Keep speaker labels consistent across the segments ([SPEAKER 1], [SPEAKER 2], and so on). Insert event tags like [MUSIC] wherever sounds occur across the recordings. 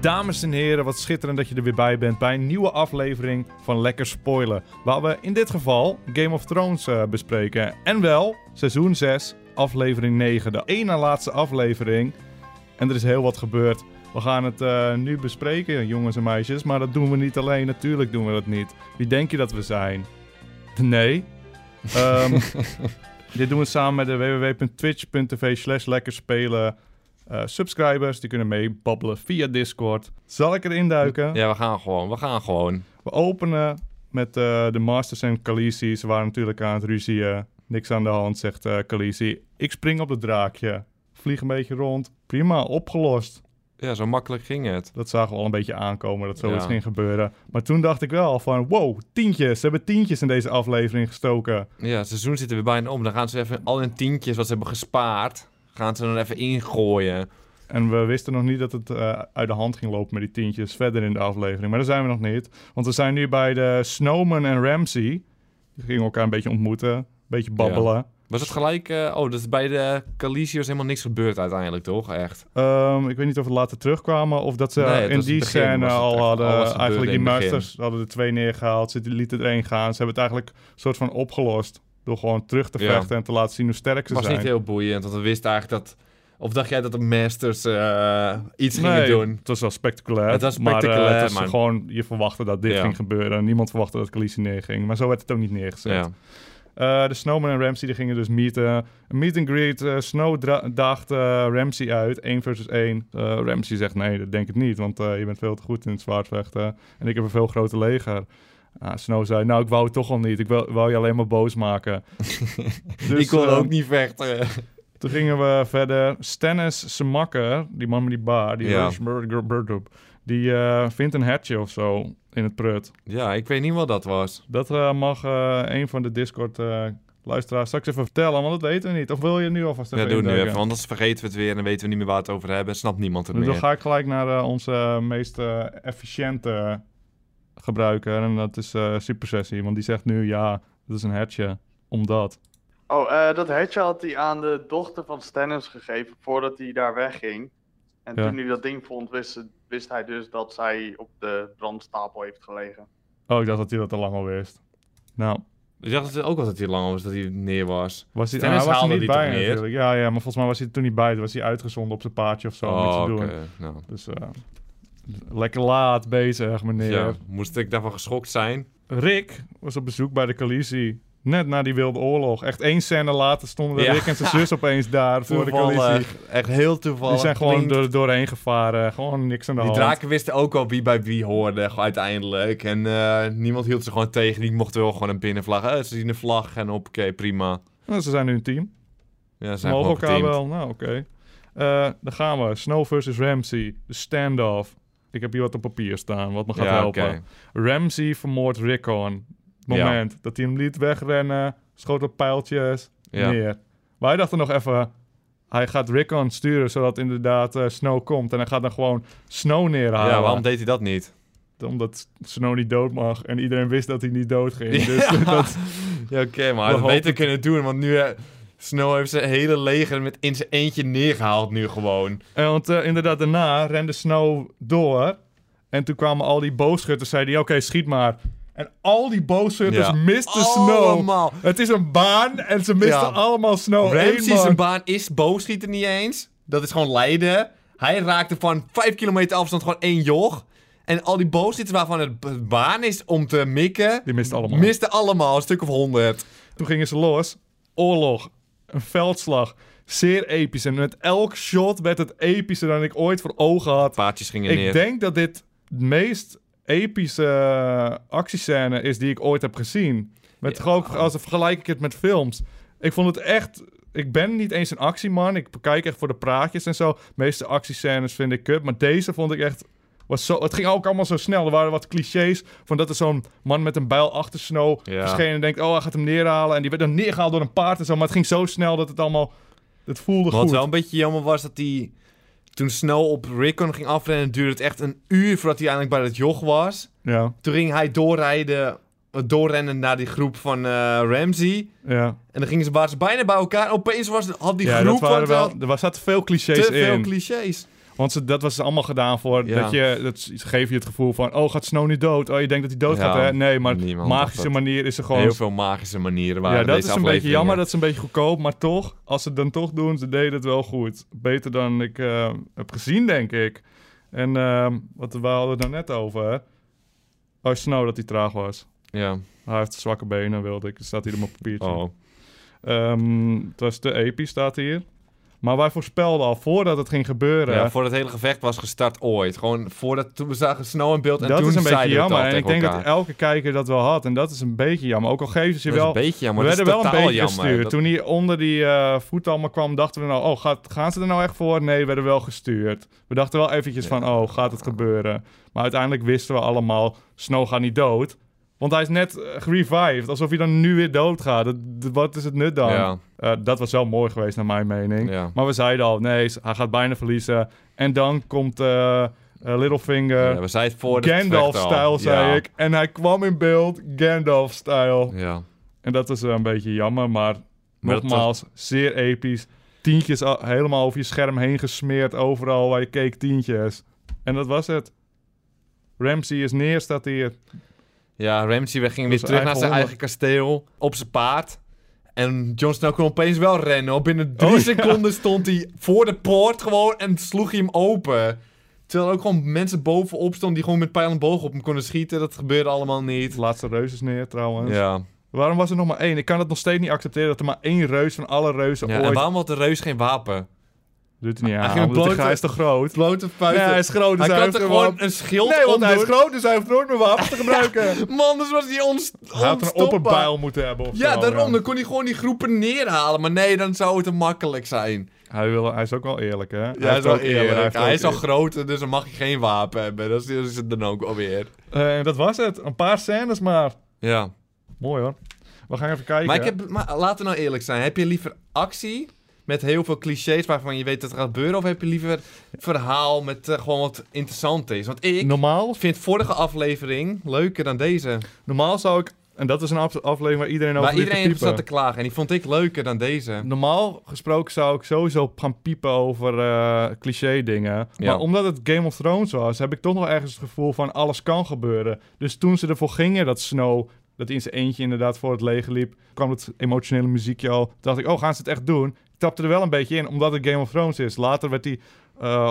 [SPEAKER 1] Dames en heren, wat schitterend dat je er weer bij bent bij een nieuwe aflevering van Lekker Spoilen. Waar we in dit geval Game of Thrones eh, bespreken. En wel seizoen 6, aflevering 9, de ene laatste aflevering. En er is heel wat gebeurd. We gaan het eh, nu bespreken, jongens en meisjes. Maar dat doen we niet alleen. Natuurlijk doen we dat niet. Wie denk je dat we zijn? Nee. Ehm, [LAUGHS] dit doen we samen met de www.twitch.tv slash lekker spelen. eh, subscribers, die kunnen meebabbelen via Discord. Zal ik erin duiken?
[SPEAKER 2] Ja, we gaan gewoon. We gaan gewoon.
[SPEAKER 1] We openen met eh, de Masters en Khaleesi. Ze waren natuurlijk aan het ruzieën. Niks aan de hand, zegt eh Khaleesi. Ik spring op het draakje. Vlieg een beetje rond. Prima, opgelost.
[SPEAKER 2] Ja, zo makkelijk ging het.
[SPEAKER 1] Dat zagen we al een beetje aankomen, dat zoiets
[SPEAKER 2] Ja.
[SPEAKER 1] ging gebeuren. Maar toen dacht ik wel van, wow, tientjes. Ze hebben tientjes in deze aflevering gestoken.
[SPEAKER 2] Ja, het seizoen zit er weer bijna om. Dan gaan ze even al hun tientjes wat ze hebben gespaard, gaan ze dan even ingooien.
[SPEAKER 1] En we wisten nog niet dat het eh, uit de hand ging lopen met die tientjes verder in de aflevering. Maar daar zijn we nog niet. Want we zijn nu bij de Snowman en Ramsey. Die gingen elkaar een beetje ontmoeten. Een beetje babbelen.
[SPEAKER 2] Was het gelijk... eh, oh, dat is bij de Calisios helemaal niks gebeurd uiteindelijk, toch? Echt.
[SPEAKER 1] Ehm, ik weet niet of we later terugkwamen of dat ze
[SPEAKER 2] Nee, het was
[SPEAKER 1] in
[SPEAKER 2] het
[SPEAKER 1] die
[SPEAKER 2] begin,
[SPEAKER 1] scène
[SPEAKER 2] was het
[SPEAKER 1] al
[SPEAKER 2] echt-
[SPEAKER 1] hadden.
[SPEAKER 2] alles gebeurde
[SPEAKER 1] eigenlijk die
[SPEAKER 2] in het begin.
[SPEAKER 1] masters hadden er twee neergehaald. Ze lieten er één gaan. Ze hebben het eigenlijk een soort van opgelost. Door gewoon terug te
[SPEAKER 2] Ja.
[SPEAKER 1] vechten en te laten zien hoe sterk ze
[SPEAKER 2] Het was
[SPEAKER 1] zijn.
[SPEAKER 2] niet heel boeiend, want we wisten eigenlijk dat... Of dacht jij dat de Masters eh, iets
[SPEAKER 1] Nee,
[SPEAKER 2] gingen doen?
[SPEAKER 1] Het was wel spectaculair.
[SPEAKER 2] Het was
[SPEAKER 1] Maar, eh,
[SPEAKER 2] spectaculair,
[SPEAKER 1] het was
[SPEAKER 2] maar-
[SPEAKER 1] gewoon, je verwachtte dat dit
[SPEAKER 2] Ja.
[SPEAKER 1] ging gebeuren. Niemand verwachtte dat Khaleesi neerging. Maar zo werd het ook niet neergezet.
[SPEAKER 2] Ja.
[SPEAKER 1] Eh, de Snowman en Ramsey die gingen dus meeten. Een meet and greet. eh, Snow dra- daagt eh, Ramsey uit. 1 versus 1. Eh Ramsey zegt nee, dat denk ik niet. Want eh, je bent veel te goed in het zwaardvechten. En ik heb een veel groter leger. Ah, Snow zei, nou ik wou het toch al niet. Ik wil, wou je alleen maar boos
[SPEAKER 2] [LAUGHS]
[SPEAKER 1] maken.
[SPEAKER 2] ik kon
[SPEAKER 1] eh,
[SPEAKER 2] ook niet vechten.
[SPEAKER 1] Toen gingen we verder. Stannis Semakker, die man met die baar, die
[SPEAKER 2] Ja.
[SPEAKER 1] Rushmurger Burdup, die eh, vindt een hertje of zo in het prut.
[SPEAKER 2] ja, ik weet niet wat dat was.
[SPEAKER 1] Dat eh, mag eh, een van de Discord-luisteraars straks even vertellen, want dat weten we niet. Of wil je nu alvast
[SPEAKER 2] Ja,
[SPEAKER 1] even
[SPEAKER 2] doe nu
[SPEAKER 1] induiken?
[SPEAKER 2] even, want anders vergeten we het weer... en dan weten we niet meer waar we het over hebben. En snapt niemand het
[SPEAKER 1] Dan
[SPEAKER 2] meer.
[SPEAKER 1] ga ik gelijk naar eh, onze eh, meest eh, efficiënte gebruiker, en dat is eh Super Sessie, want die zegt nu, ja, dat is een hertje, omdat.
[SPEAKER 3] Oh, eh, dat hertje had hij aan de dochter van Stannis gegeven voordat hij daar wegging. En
[SPEAKER 1] Ja.
[SPEAKER 3] toen hij dat ding vond, wist, ze- wist hij dus dat zij op de brandstapel heeft gelegen.
[SPEAKER 1] Oh, ik dacht dat hij dat al lang al wist. Nou,
[SPEAKER 2] Ik dacht dat het ook wel dat hij lang was, dat hij neer was.
[SPEAKER 1] Was hij,
[SPEAKER 2] Tennis
[SPEAKER 1] hij was er
[SPEAKER 2] haalde
[SPEAKER 1] niet
[SPEAKER 2] die toch
[SPEAKER 1] bij
[SPEAKER 2] neer?
[SPEAKER 1] natuurlijk. Ja, ja, maar volgens mij was hij er toen niet bij. Toen was hij uitgezonden op zijn paardje of zo. om iets te doen.
[SPEAKER 2] oké, nou.
[SPEAKER 1] Dus eh, lekker laat bezig, meneer.
[SPEAKER 2] Ja, moest ik daarvan geschokt
[SPEAKER 1] Nou,
[SPEAKER 2] zijn?
[SPEAKER 1] Rick was op bezoek bij de Khaleesi. Net na die wilde oorlog. Echt één scène later stonden
[SPEAKER 2] Ja.
[SPEAKER 1] Rick en zijn
[SPEAKER 2] [LAUGHS]
[SPEAKER 1] zus opeens daar voor de Khaleesi.
[SPEAKER 2] Toevallig. Echt heel toevallig.
[SPEAKER 1] Die zijn gewoon
[SPEAKER 2] Klinkt-
[SPEAKER 1] door, doorheen gevaren. Gewoon niks aan de
[SPEAKER 2] Die
[SPEAKER 1] hand.
[SPEAKER 2] draken wisten ook al wie bij wie hoorde gewoon uiteindelijk. En eh, niemand hield ze gewoon tegen. Die mochten wel gewoon een binnenvlag. Eh, ze zien een vlag en op, oké, prima.
[SPEAKER 1] Nou, ze zijn nu een team.
[SPEAKER 2] Ja, ze
[SPEAKER 1] Ze
[SPEAKER 2] zijn
[SPEAKER 1] mogen
[SPEAKER 2] gewoon
[SPEAKER 1] elkaar
[SPEAKER 2] geteamd.
[SPEAKER 1] wel. Nou, oké. Eh, dan gaan we. Snow versus Ramsey. De standoff. Ik heb hier wat op papier staan, wat me gaat
[SPEAKER 2] Ja,
[SPEAKER 1] helpen.
[SPEAKER 2] oké.
[SPEAKER 1] Ramsey vermoordt Rickon. Het moment dat hij hem liet wegrennen, schoot op pijltjes,
[SPEAKER 2] Ja.
[SPEAKER 1] neer. Maar hij dacht er nog even, hij gaat Rickon sturen zodat inderdaad eh, Snow komt. En hij gaat dan gewoon Snow neerhalen.
[SPEAKER 2] ja, waarom deed hij dat niet?
[SPEAKER 1] Omdat Snow niet dood mag en iedereen wist dat hij niet dood ging. [LAUGHS] Dus
[SPEAKER 2] [LAUGHS] ja,
[SPEAKER 1] dat,
[SPEAKER 2] Ja, oké, maar hij had
[SPEAKER 1] hopen-
[SPEAKER 2] het beter kunnen doen. Want nu... eh, Snow heeft zijn hele leger met in zijn eentje neergehaald nu gewoon.
[SPEAKER 1] en want eh, inderdaad daarna rende Snow door. En toen kwamen al die boogschutters, zeiden die, oké, schiet maar. En al die boogschutters
[SPEAKER 2] Ja.
[SPEAKER 1] misten Snow.
[SPEAKER 2] Allemaal.
[SPEAKER 1] Het is een baan en ze misten
[SPEAKER 2] Ja.
[SPEAKER 1] allemaal Snow. Eén
[SPEAKER 2] Ramsey
[SPEAKER 1] man.
[SPEAKER 2] zijn baan is boogschieten niet eens. Dat is gewoon lijden. Hij raakte van 5 kilometer afstand gewoon één joch. En al die boogschieters waarvan het b- baan is om te mikken...
[SPEAKER 1] Die misten allemaal.
[SPEAKER 2] Misten allemaal, een stuk of 100.
[SPEAKER 1] Toen gingen ze los. Oorlog. Een veldslag. Zeer episch. En met elk shot werd het epischer dan ik ooit voor ogen had.
[SPEAKER 2] Paardjes gingen
[SPEAKER 1] Ik denk dat dit de meest epische eh, actiescène is die ik ooit heb gezien. Met gewoon, als vergelijk ik het met films. Ik vond het echt... Ik ben niet eens een actieman. Ik kijk echt voor de praatjes en zo. De meeste actiescènes vind ik kut. Maar deze vond ik echt... Was zo, het ging ook allemaal zo snel. Er waren wat clichés van dat er zo'n man met een bijl achter Snow
[SPEAKER 2] Ja.
[SPEAKER 1] verscheen en denkt... Oh, hij gaat hem neerhalen. En die werd dan neergehaald door een paard en zo. Maar het ging zo snel dat het allemaal... Het voelde
[SPEAKER 2] Wat
[SPEAKER 1] goed.
[SPEAKER 2] wel een beetje jammer was dat hij... Toen Snow op Rickon ging afrennen, duurde het echt een uur voordat hij eindelijk bij dat joch was.
[SPEAKER 1] Ja,
[SPEAKER 2] Toen ging hij doorrijden, eh, doorrennen naar die groep van eh, Ramsey.
[SPEAKER 1] ja.
[SPEAKER 2] En dan gingen ze, waren ze bijna bij elkaar. Opeens was, had die
[SPEAKER 1] ja
[SPEAKER 2] groep
[SPEAKER 1] dat
[SPEAKER 2] van
[SPEAKER 1] waren wel, er zaten veel clichés
[SPEAKER 2] te
[SPEAKER 1] in.
[SPEAKER 2] veel clichés.
[SPEAKER 1] Want ze, dat was allemaal gedaan voor
[SPEAKER 2] Ja.
[SPEAKER 1] dat je... Dat s- geeft je het gevoel van, oh, gaat Snow niet dood? Oh, je denkt dat hij dood
[SPEAKER 2] Ja,
[SPEAKER 1] gaat, hè? Nee, maar
[SPEAKER 2] niemand dacht
[SPEAKER 1] magische
[SPEAKER 2] dat.
[SPEAKER 1] manier is er gewoon...
[SPEAKER 2] Heel veel magische manieren waren
[SPEAKER 1] ja, dat
[SPEAKER 2] deze
[SPEAKER 1] is een beetje
[SPEAKER 2] afleveringen.
[SPEAKER 1] jammer. Dat is een beetje goedkoop. Maar toch, als ze het dan toch doen, ze deden het wel goed. Beter dan ik eh, heb gezien, denk ik. En ehm, wat we hadden het nou net over. hè? Oh, Snow, dat hij traag was.
[SPEAKER 2] Ja.
[SPEAKER 1] Hij heeft zwakke benen, wilde ik. Staat hier op mijn papiertje.
[SPEAKER 2] Oh.
[SPEAKER 1] Ehm, het was te episch, staat hier. Maar wij voorspelden al, voordat het ging gebeuren...
[SPEAKER 2] Ja, voor het hele gevecht was gestart ooit. Gewoon voordat toen we zagen Snow in beeld en
[SPEAKER 1] dat
[SPEAKER 2] toen
[SPEAKER 1] is een beetje
[SPEAKER 2] zeiden we het
[SPEAKER 1] jammer.
[SPEAKER 2] al
[SPEAKER 1] En ik
[SPEAKER 2] tegen
[SPEAKER 1] denk dat
[SPEAKER 2] elkaar.
[SPEAKER 1] elke kijker dat wel had. En dat is een beetje jammer. Ook al geven ze je
[SPEAKER 2] dat
[SPEAKER 1] wel...
[SPEAKER 2] is een beetje jammer.
[SPEAKER 1] we
[SPEAKER 2] dat is
[SPEAKER 1] werden wel een
[SPEAKER 2] totaal
[SPEAKER 1] beetje
[SPEAKER 2] jammer.
[SPEAKER 1] gestuurd.
[SPEAKER 2] Dat-
[SPEAKER 1] Toen hij onder die eh, voet allemaal kwam, dachten we nou... Oh, gaat, gaan ze er nou echt voor? Nee, we werden wel gestuurd. We dachten wel eventjes van... Oh, gaat het gebeuren? Maar uiteindelijk wisten we allemaal... Snow gaat niet dood. Want hij is net eh, gerevived. Alsof hij dan nu weer dood gaat. Dat, dat- wat is het nut dan?
[SPEAKER 2] Ja.
[SPEAKER 1] Eh, dat was wel mooi geweest, naar mijn mening.
[SPEAKER 2] Ja.
[SPEAKER 1] Maar we zeiden al... Nee, ze- hij gaat bijna verliezen. En dan komt eh, eh, Littlefinger...
[SPEAKER 2] Ja, we zeiden het voor de
[SPEAKER 1] Gandalf-stijl, zei ik. En hij kwam in beeld, Gandalf-stijl.
[SPEAKER 2] Ja.
[SPEAKER 1] En dat is eh, een beetje jammer, maar,
[SPEAKER 2] Maar dat
[SPEAKER 1] nogmaals, zeer episch. Tientjes al- helemaal over je scherm heen gesmeerd, overal waar je keek tientjes. En dat was het. Ramsey is neer, staat hier.
[SPEAKER 2] Ja, Ramsey we gingen weer
[SPEAKER 1] Dat is
[SPEAKER 2] terug naar
[SPEAKER 1] eigen
[SPEAKER 2] zijn
[SPEAKER 1] honderd.
[SPEAKER 2] eigen kasteel. Op zijn paard. En Jon Snow kon opeens wel rennen. hoor. Binnen drie
[SPEAKER 1] Oh, ja.
[SPEAKER 2] seconden stond hij voor de poort gewoon en sloeg hij hem open. Terwijl er ook gewoon mensen bovenop stonden die gewoon met pijl en boog op hem konden schieten. Dat gebeurde allemaal niet.
[SPEAKER 1] De laatste reus is neer, trouwens.
[SPEAKER 2] Ja.
[SPEAKER 1] Waarom was er nog maar één? Ik kan het nog steeds niet accepteren dat er maar één reus van alle reuzen
[SPEAKER 2] ja. En
[SPEAKER 1] ooit...
[SPEAKER 2] waarom had de reus geen wapen?
[SPEAKER 1] Doet hij niet
[SPEAKER 2] Hij
[SPEAKER 1] aan,
[SPEAKER 2] ging
[SPEAKER 1] omdat de
[SPEAKER 2] blote-
[SPEAKER 1] hij is te groot.
[SPEAKER 2] Blote
[SPEAKER 1] Nee,
[SPEAKER 2] vuisten.
[SPEAKER 1] hij is groot,
[SPEAKER 2] hij
[SPEAKER 1] dus hij,
[SPEAKER 2] kan
[SPEAKER 1] heeft
[SPEAKER 2] er
[SPEAKER 1] geen
[SPEAKER 2] gewoon
[SPEAKER 1] wapen.
[SPEAKER 2] een schild
[SPEAKER 1] Nee, want hij is
[SPEAKER 2] omdoen.
[SPEAKER 1] groot, dus hij heeft nooit meer wapens
[SPEAKER 2] [LAUGHS]
[SPEAKER 1] te gebruiken.
[SPEAKER 2] [LAUGHS] Man, dus was hij ons
[SPEAKER 1] Hij had een
[SPEAKER 2] onstopbaar.
[SPEAKER 1] opperbijl moeten hebben of
[SPEAKER 2] Ja,
[SPEAKER 1] zo,
[SPEAKER 2] daarom. Dan kon hij gewoon die groepen neerhalen. Maar nee, dan zou het te makkelijk zijn.
[SPEAKER 1] Hij, wil, hij is ook wel eerlijk, hè? Ja,
[SPEAKER 2] Ja, hij is wel eerlijk. Hij, is al
[SPEAKER 1] al
[SPEAKER 2] groot, dus dan mag je geen wapen hebben. Dat is, dat is het dan ook alweer.
[SPEAKER 1] Eh, dat was het. Een paar scènes maar.
[SPEAKER 2] Ja.
[SPEAKER 1] Mooi hoor. We gaan even kijken.
[SPEAKER 2] Maar, ik heb, maar laten we nou eerlijk zijn. Heb je liever actie met heel veel clichés waarvan je weet dat het gaat gebeuren? Of heb je liever verhaal met eh, gewoon wat interessant is? Want ik
[SPEAKER 1] normaal,
[SPEAKER 2] vind vorige aflevering leuker dan deze.
[SPEAKER 1] normaal zou ik... En dat is een af- aflevering waar iedereen over
[SPEAKER 2] Waar
[SPEAKER 1] ligt te
[SPEAKER 2] iedereen
[SPEAKER 1] piepen.
[SPEAKER 2] zat te klagen. En die vond ik leuker dan deze.
[SPEAKER 1] Normaal gesproken zou ik sowieso gaan piepen over eh, cliché dingen.
[SPEAKER 2] Ja.
[SPEAKER 1] Maar omdat het Game of Thrones was, heb ik toch nog ergens het gevoel van alles kan gebeuren. Dus toen ze ervoor gingen dat Snow, dat hij in zijn eentje inderdaad voor het leger liep, kwam het emotionele muziekje al. Toen dacht ik, oh gaan ze het echt doen? Ik tapte er wel een beetje in, omdat het Game of Thrones is. Later werd hij... eh,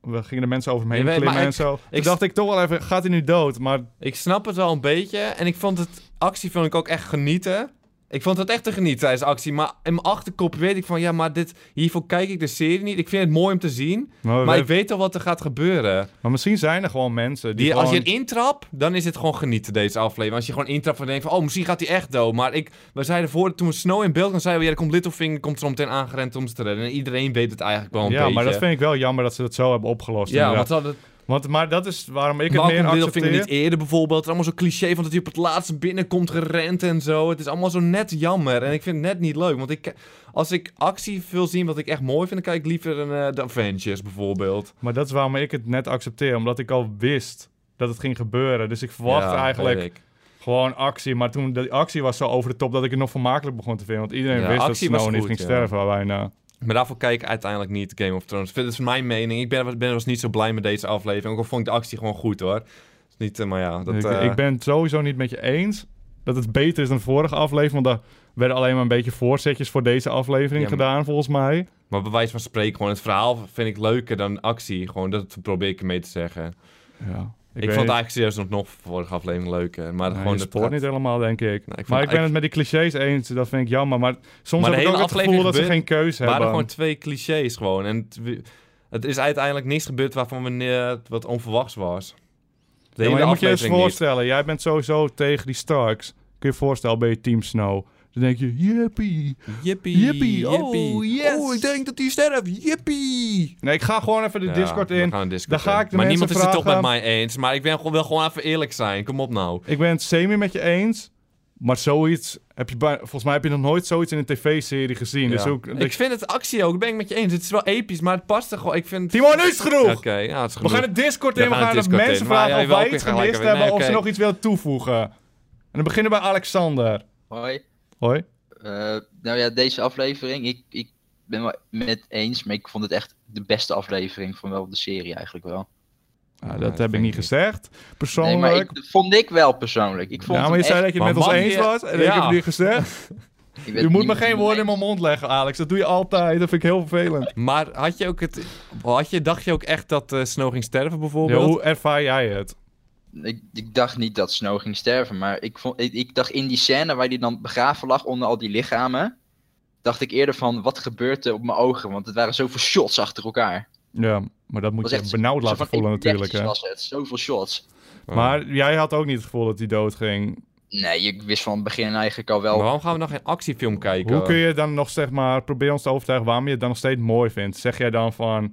[SPEAKER 1] we gingen de mensen over hem
[SPEAKER 2] Je
[SPEAKER 1] heen
[SPEAKER 2] weet,
[SPEAKER 1] klimmen
[SPEAKER 2] maar
[SPEAKER 1] en
[SPEAKER 2] ik-
[SPEAKER 1] zo.
[SPEAKER 2] ik-
[SPEAKER 1] Ik dacht ik toch wel even, gaat hij nu dood? Maar
[SPEAKER 2] Ik snap het wel een beetje. En ik vond het actie vond ik ook echt genieten. Ik vond het echt te genieten tijdens de actie. Maar in mijn achterkop weet ik van ja, maar dit, hiervoor kijk ik de serie niet. Ik vind het mooi om te zien.
[SPEAKER 1] Maar, we-
[SPEAKER 2] Maar ik weet al wat er gaat gebeuren.
[SPEAKER 1] maar misschien zijn er gewoon mensen die,
[SPEAKER 2] Die, als je
[SPEAKER 1] gewoon-
[SPEAKER 2] het intrapt, dan is het gewoon genieten deze aflevering. Als je gewoon intrapt van denkt van oh, misschien gaat hij echt dood. Maar ik, we zeiden voor, toen we Snow in beeld kwamen, zeiden we ja, er komt Littlefinger, komt zo meteen aangerend om ze te redden. En iedereen weet het eigenlijk wel een
[SPEAKER 1] Ja,
[SPEAKER 2] beetje.
[SPEAKER 1] maar dat vind ik wel jammer dat ze dat zo hebben opgelost.
[SPEAKER 2] Ja,
[SPEAKER 1] inderdaad.
[SPEAKER 2] want dat,
[SPEAKER 1] Want, maar dat is waarom ik het
[SPEAKER 2] Waarom
[SPEAKER 1] meer
[SPEAKER 2] komt Littlefinger
[SPEAKER 1] accepteer.
[SPEAKER 2] niet eerder bijvoorbeeld? Allemaal zo'n cliché van dat hij op het laatst binnenkomt gerend en zo. Het is allemaal zo net jammer. En ik vind het net niet leuk. Want ik, als ik actie wil zien wat ik echt mooi vind, dan kijk ik liever een eh, The Avengers bijvoorbeeld.
[SPEAKER 1] Maar dat is waarom ik het net accepteer. Omdat ik al wist dat het ging gebeuren. Dus ik verwachtte
[SPEAKER 2] Ja,
[SPEAKER 1] eigenlijk
[SPEAKER 2] weet ik.
[SPEAKER 1] gewoon actie. Maar toen de actie was zo over de top dat ik het nog vermakelijk begon te vinden. Want iedereen
[SPEAKER 2] Ja,
[SPEAKER 1] wist dat
[SPEAKER 2] actie
[SPEAKER 1] Snow
[SPEAKER 2] was
[SPEAKER 1] niet
[SPEAKER 2] goed,
[SPEAKER 1] ging
[SPEAKER 2] ja.
[SPEAKER 1] sterven bijna.
[SPEAKER 2] Maar daarvoor kijk ik uiteindelijk niet Game of Thrones. Dat is mijn mening. Ik ben, ben was niet zo blij met deze aflevering. Ook al vond ik de actie gewoon goed hoor. Dus niet, eh, maar ja, dat...
[SPEAKER 1] ik,
[SPEAKER 2] eh,
[SPEAKER 1] ik ben het sowieso niet met je eens dat het beter is dan de vorige aflevering. Want daar werden alleen maar een beetje voorzetjes voor deze aflevering
[SPEAKER 2] Ja, maar-
[SPEAKER 1] gedaan volgens mij.
[SPEAKER 2] Maar bij wijze van spreken, gewoon het verhaal vind ik leuker dan actie. Gewoon, dat probeer ik ermee te zeggen.
[SPEAKER 1] Ja,
[SPEAKER 2] Ik,
[SPEAKER 1] weet
[SPEAKER 2] vond
[SPEAKER 1] niet.
[SPEAKER 2] eigenlijk serieus nog, nog vorige aflevering leuker. Maar
[SPEAKER 1] Nee,
[SPEAKER 2] gewoon
[SPEAKER 1] je
[SPEAKER 2] het
[SPEAKER 1] spoort
[SPEAKER 2] gaat-
[SPEAKER 1] niet helemaal, denk ik.
[SPEAKER 2] vond-
[SPEAKER 1] maar ik ben
[SPEAKER 2] ik-
[SPEAKER 1] het met die clichés eens, dat vind ik jammer. Maar soms
[SPEAKER 2] Maar de
[SPEAKER 1] heb ik ook
[SPEAKER 2] hele
[SPEAKER 1] het gevoel
[SPEAKER 2] aflevering
[SPEAKER 1] dat ze
[SPEAKER 2] gebeurt-
[SPEAKER 1] geen keuze
[SPEAKER 2] waren
[SPEAKER 1] hebben.
[SPEAKER 2] gewoon twee clichés gewoon. En het, wi- het is uiteindelijk niks gebeurd waarvan we ne- wat onverwachts was. De
[SPEAKER 1] Ja, maar
[SPEAKER 2] hele
[SPEAKER 1] je moet je eens
[SPEAKER 2] aflevering niet.
[SPEAKER 1] voorstellen, jij bent sowieso tegen die Starks. Kun je je voorstellen, ben je Team Snow. Dan denk je, jippie,
[SPEAKER 2] Jippie,
[SPEAKER 1] jippie, oh yes.
[SPEAKER 2] denk dat hij sterft. Jippie.
[SPEAKER 1] Nee, ik ga gewoon even de Discord in. Daar ga ik de
[SPEAKER 2] Maar
[SPEAKER 1] mensen
[SPEAKER 2] niemand is het toch met
[SPEAKER 1] vragen-
[SPEAKER 2] mij eens. Maar ik ben gewoon, wil gewoon even eerlijk zijn. Kom op nou.
[SPEAKER 1] Ik ben het semi met je eens. Maar zoiets, heb je bij- volgens mij heb je nog nooit zoiets in een tv-serie gezien. Dus
[SPEAKER 2] Ja.
[SPEAKER 1] ook,
[SPEAKER 2] Ik vind het actie ook. Ben ik met je eens. Het is wel episch, maar het past er gewoon. Ik vind...
[SPEAKER 1] Timo, nu is het genoeg!
[SPEAKER 2] Oké, ja, het is
[SPEAKER 1] We
[SPEAKER 2] genoeg.
[SPEAKER 1] gaan de Discord
[SPEAKER 2] We
[SPEAKER 1] in, we
[SPEAKER 2] gaan de
[SPEAKER 1] gaan de
[SPEAKER 2] Discord
[SPEAKER 1] mensen
[SPEAKER 2] in, maar
[SPEAKER 1] vragen
[SPEAKER 2] jij
[SPEAKER 1] of
[SPEAKER 2] wil
[SPEAKER 1] wij
[SPEAKER 2] ook
[SPEAKER 1] iets
[SPEAKER 2] weer gelijk
[SPEAKER 1] gemist
[SPEAKER 2] hebben.
[SPEAKER 1] hebben of
[SPEAKER 2] Nee,
[SPEAKER 1] ze
[SPEAKER 2] oké.
[SPEAKER 1] nog iets willen toevoegen. En dan beginnen we bij Alexander.
[SPEAKER 4] Hoi.
[SPEAKER 1] Hoi.
[SPEAKER 4] Eh, nou ja, deze aflevering, ik, ik ben wel met eens, maar ik vond het echt de beste aflevering van wel de serie eigenlijk wel.
[SPEAKER 1] Ah,
[SPEAKER 2] Nee,
[SPEAKER 1] dat
[SPEAKER 2] dat
[SPEAKER 1] heb ik
[SPEAKER 2] vind
[SPEAKER 1] niet
[SPEAKER 2] ik niet.
[SPEAKER 1] gezegd.
[SPEAKER 4] Nee, maar
[SPEAKER 1] Persoonlijk.
[SPEAKER 4] ik, vond ik wel persoonlijk. Ik vond
[SPEAKER 1] ja, maar je
[SPEAKER 4] hem
[SPEAKER 1] zei
[SPEAKER 4] echt-
[SPEAKER 1] dat je
[SPEAKER 2] Maar
[SPEAKER 1] het met ons
[SPEAKER 2] man,
[SPEAKER 1] eens
[SPEAKER 2] je-
[SPEAKER 1] was. En ik
[SPEAKER 2] Ja.
[SPEAKER 1] heb het nu gezegd.
[SPEAKER 4] ik weet
[SPEAKER 1] Je moet me
[SPEAKER 4] niet wat
[SPEAKER 1] geen
[SPEAKER 4] [LAUGHS] je
[SPEAKER 1] woorden in
[SPEAKER 4] meent.
[SPEAKER 1] mijn mond leggen, Alex. Dat doe je altijd. Dat vind ik heel
[SPEAKER 2] [LAUGHS]
[SPEAKER 1] vervelend.
[SPEAKER 2] Maar had je ook het... Had je, dacht je ook echt dat eh Snow ging sterven
[SPEAKER 1] Ja,
[SPEAKER 2] bijvoorbeeld?
[SPEAKER 1] hoe ervaar jij het?
[SPEAKER 4] Ik, ik dacht niet dat Snow ging sterven, maar ik, vond, ik, ik dacht in die scène waar hij dan begraven lag onder al die lichamen, dacht ik eerder van wat gebeurt er op mijn ogen, want het waren zoveel shots achter
[SPEAKER 1] [LAUGHS]
[SPEAKER 4] elkaar.
[SPEAKER 1] Ja, maar dat moet
[SPEAKER 4] Was
[SPEAKER 1] je
[SPEAKER 4] echt
[SPEAKER 1] benauwd
[SPEAKER 4] Zo
[SPEAKER 1] laten
[SPEAKER 4] van
[SPEAKER 1] voelen natuurlijk.
[SPEAKER 4] 31
[SPEAKER 1] Hè.
[SPEAKER 4] Was het, zoveel shots.
[SPEAKER 2] Oh.
[SPEAKER 1] Maar jij had ook niet het gevoel dat hij doodging.
[SPEAKER 4] Nee, ik wist van het begin eigenlijk al
[SPEAKER 2] Maar
[SPEAKER 4] wel.
[SPEAKER 2] waarom gaan we nog geen actiefilm kijken?
[SPEAKER 1] Hoe kun je dan nog, zeg maar, probeer ons te overtuigen waarom je het dan nog steeds mooi vindt? Zeg jij dan van,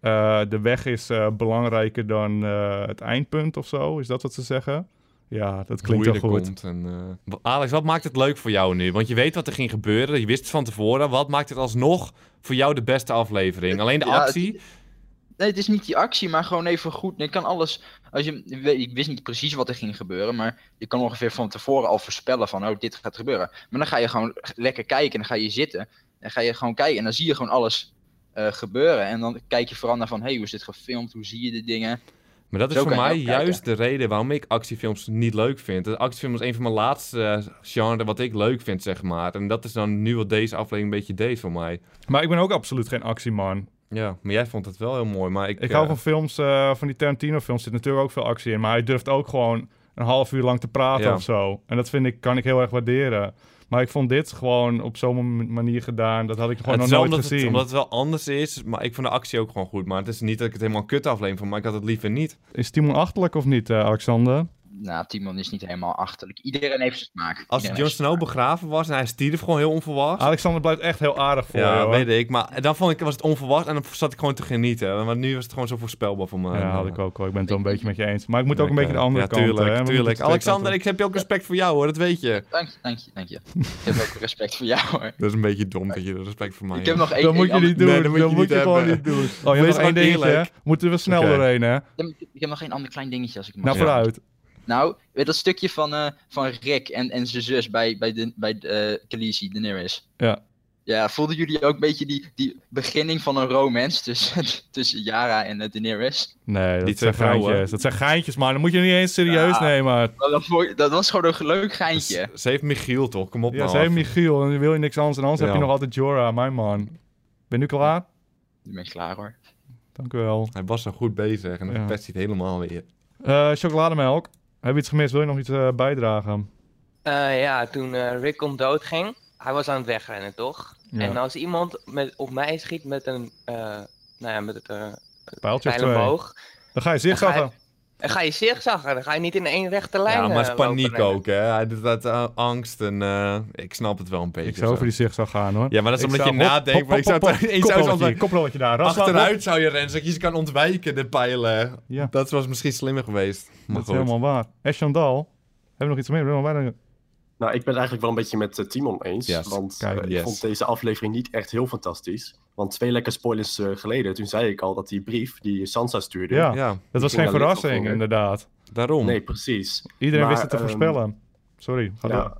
[SPEAKER 1] eh, de weg is eh, belangrijker dan eh, het eindpunt of zo? Is dat wat ze zeggen? Ja, dat
[SPEAKER 2] Hoe
[SPEAKER 1] klinkt wel
[SPEAKER 2] je er
[SPEAKER 1] goed.
[SPEAKER 2] komt en, eh, wa- Alex, wat maakt het leuk voor jou nu? Want je weet wat er ging gebeuren, je wist het van tevoren. Wat maakt het alsnog voor jou de beste aflevering? Alleen de
[SPEAKER 4] Ja, het-
[SPEAKER 2] actie?
[SPEAKER 4] Nee, het is niet die actie, maar gewoon even goed. Ik kan alles. Als je, ik weet- ik wist niet precies wat er ging gebeuren, maar je kan ongeveer van tevoren al voorspellen van, oh, dit gaat gebeuren. Maar dan ga je gewoon lekker kijken en dan ga je zitten en ga je gewoon kijken en dan zie je gewoon alles eh, gebeuren. En dan kijk je vooral naar van, hey, hoe is dit gefilmd? Hoe zie je de dingen?
[SPEAKER 2] Maar dat is
[SPEAKER 4] Zo
[SPEAKER 2] voor
[SPEAKER 4] kan je
[SPEAKER 2] mij
[SPEAKER 4] ook kijken.
[SPEAKER 2] juist de reden waarom ik actiefilms niet leuk vind. De actiefilm is een van mijn laatste eh, genre wat ik leuk vind, zeg maar. En dat is dan nu wat deze aflevering een beetje deed voor mij.
[SPEAKER 1] Maar ik ben ook absoluut geen actieman.
[SPEAKER 2] Ja, maar jij vond het wel heel mooi, maar ik...
[SPEAKER 1] Ik
[SPEAKER 2] eh,
[SPEAKER 1] hou van films, eh, van die Tarantino-films zit natuurlijk ook veel actie in. Maar hij durft ook gewoon een half uur lang te praten
[SPEAKER 2] Ja.
[SPEAKER 1] of zo. En dat vind ik, kan ik heel erg waarderen. Maar ik vond dit gewoon op zo'n manier gedaan. Dat had ik gewoon
[SPEAKER 2] het
[SPEAKER 1] nog
[SPEAKER 2] is wel
[SPEAKER 1] nooit
[SPEAKER 2] omdat
[SPEAKER 1] gezien.
[SPEAKER 2] Het, omdat het wel anders is, maar ik vond de actie ook gewoon goed. Maar het is niet dat ik het helemaal een kut aflevering vond, maar ik had het liever niet.
[SPEAKER 1] Is Timon achterlijk of niet, eh, Alexander?
[SPEAKER 4] Nou, Timon is niet helemaal achterlijk. Iedereen heeft zijn smaak.
[SPEAKER 2] Als
[SPEAKER 4] Iedereen
[SPEAKER 2] Jon
[SPEAKER 4] heeft zijn
[SPEAKER 2] Snow begraven was en hij stierf gewoon heel onverwacht.
[SPEAKER 1] Alexander blijft echt heel aardig voor je,
[SPEAKER 2] ja,
[SPEAKER 1] hoor.
[SPEAKER 2] weet ik. Maar dan vond ik, was het onverwacht en dan zat ik gewoon te genieten. Maar nu was het gewoon zo voorspelbaar voor me.
[SPEAKER 1] Ja, had ik ook hoor. Ik ben het wel een beetje met je eens. Maar ik moet ook een beetje de andere
[SPEAKER 2] ja,
[SPEAKER 1] kant.
[SPEAKER 2] tuurlijk,
[SPEAKER 1] hè. We moeten
[SPEAKER 2] tuurlijk.
[SPEAKER 1] twee
[SPEAKER 2] Alexander,
[SPEAKER 1] kanten-
[SPEAKER 2] ik heb ook respect voor jou hoor, dat weet je.
[SPEAKER 4] smaak. Dank je, dank je, dank je. Ik heb ook respect voor jou hoor.
[SPEAKER 2] Dat is een beetje dom dat je respect voor mij
[SPEAKER 4] Ik heb nog één
[SPEAKER 1] Dat moet
[SPEAKER 4] één
[SPEAKER 1] je niet doen.
[SPEAKER 2] Nee,
[SPEAKER 1] dat
[SPEAKER 2] dat
[SPEAKER 1] moet
[SPEAKER 2] moet je
[SPEAKER 1] je,
[SPEAKER 2] niet
[SPEAKER 1] gewoon
[SPEAKER 2] hebben.
[SPEAKER 1] niet doen. Oh, je hebt
[SPEAKER 2] Wees
[SPEAKER 1] nog één
[SPEAKER 2] gewoon
[SPEAKER 1] dingetje. hè?
[SPEAKER 2] eerlijk.
[SPEAKER 1] Moeten we snel
[SPEAKER 2] Oké.
[SPEAKER 1] doorheen, hè?
[SPEAKER 4] ander- Ik heb nog één ander klein dingetje als ik mag.
[SPEAKER 1] Nou,
[SPEAKER 2] Ja.
[SPEAKER 1] vooruit.
[SPEAKER 4] Nou, weet dat stukje van, eh, van Rick en, en zijn zus bij, bij, de, bij de, eh Khaleesi, Daenerys.
[SPEAKER 1] Ja.
[SPEAKER 4] Ja, voelden jullie ook een beetje die, die beginning van een romance tussen, [LAUGHS] tussen Yara en eh, Daenerys?
[SPEAKER 1] Nee, dat
[SPEAKER 2] Niet
[SPEAKER 1] zijn
[SPEAKER 2] zijn vrouwen.
[SPEAKER 1] geintjes. Dat zijn geintjes, man. Dat moet je niet eens serieus
[SPEAKER 4] Ja.
[SPEAKER 1] nemen.
[SPEAKER 4] Maar Dat, vond ik- dat was gewoon een leuk geintje.
[SPEAKER 2] Ze heeft Michiel toch? Kom op
[SPEAKER 1] Ja,
[SPEAKER 2] nou.
[SPEAKER 1] ze heeft
[SPEAKER 2] af.
[SPEAKER 1] Michiel en dan wil je niks anders. En anders heb je
[SPEAKER 2] Ja.
[SPEAKER 1] nog altijd Jorah, mijn man. Ben je nu klaar?
[SPEAKER 4] Nu ben ik klaar hoor.
[SPEAKER 1] Dank u wel.
[SPEAKER 2] Hij was zo goed bezig en dan
[SPEAKER 1] Ja.
[SPEAKER 2] pest hij het helemaal weer.
[SPEAKER 1] Eh, chocolademelk. Heb je iets gemist? Wil je nog iets eh, bijdragen?
[SPEAKER 5] Eh, ja, toen eh, Rick om dood ging, hij was aan het wegrennen, toch?
[SPEAKER 1] Ja.
[SPEAKER 5] En als iemand met, op mij schiet met een, eh, nou ja, met het eh
[SPEAKER 1] Pijltje of
[SPEAKER 5] pijl
[SPEAKER 1] twee.
[SPEAKER 5] omhoog,
[SPEAKER 1] Dan ga je
[SPEAKER 5] Dan ga je-
[SPEAKER 1] zigzaggen.
[SPEAKER 5] dan ga je zigzaggen, dan ga je niet in één rechte lijn
[SPEAKER 2] Ja, maar het
[SPEAKER 5] eh,
[SPEAKER 2] is paniek
[SPEAKER 5] lopen rennen.
[SPEAKER 2] ook, hè. Hij doet dat eh, angst en eh, ik snap het wel een beetje.
[SPEAKER 1] Ik zou
[SPEAKER 2] zo.
[SPEAKER 1] over die zigzag gaan, hoor.
[SPEAKER 2] Ja, maar dat is
[SPEAKER 1] Ik
[SPEAKER 2] omdat je
[SPEAKER 1] zou- hop,
[SPEAKER 2] nadenkt.
[SPEAKER 1] hop,
[SPEAKER 2] Maar ik zou
[SPEAKER 1] hop, hop,
[SPEAKER 2] toch- [LAUGHS] ik zou
[SPEAKER 1] Koprolletje,
[SPEAKER 2] zo'n
[SPEAKER 1] koprolletje daar. Ras, ras,
[SPEAKER 2] Achteruit zou je rennen, zodat je ze kan ontwijken, de pijlen.
[SPEAKER 1] Ja.
[SPEAKER 2] Dat was misschien slimmer geweest. Maar
[SPEAKER 1] Dat is
[SPEAKER 2] goed.
[SPEAKER 1] helemaal waar. En Chandal, hebben we nog iets meer? We hebben nog bijna-
[SPEAKER 6] Nou, ik ben het eigenlijk wel een beetje met eh, Timon eens.
[SPEAKER 2] Yes.
[SPEAKER 6] Want
[SPEAKER 1] Kijk,
[SPEAKER 6] eh, ik
[SPEAKER 2] yes.
[SPEAKER 6] vond deze aflevering niet echt heel fantastisch. Want twee lekker spoilers eh, geleden, toen zei ik al dat die brief die Sansa stuurde.
[SPEAKER 1] Ja,
[SPEAKER 2] Ja,
[SPEAKER 1] dat was
[SPEAKER 6] ging daar net
[SPEAKER 1] geen
[SPEAKER 6] al
[SPEAKER 1] verrassing,
[SPEAKER 6] voor.
[SPEAKER 1] inderdaad.
[SPEAKER 2] daarom.
[SPEAKER 6] Nee, precies.
[SPEAKER 1] Iedereen
[SPEAKER 6] Maar,
[SPEAKER 1] wist het te
[SPEAKER 6] ehm,
[SPEAKER 1] voorspellen. Sorry, ga door.
[SPEAKER 6] Ja.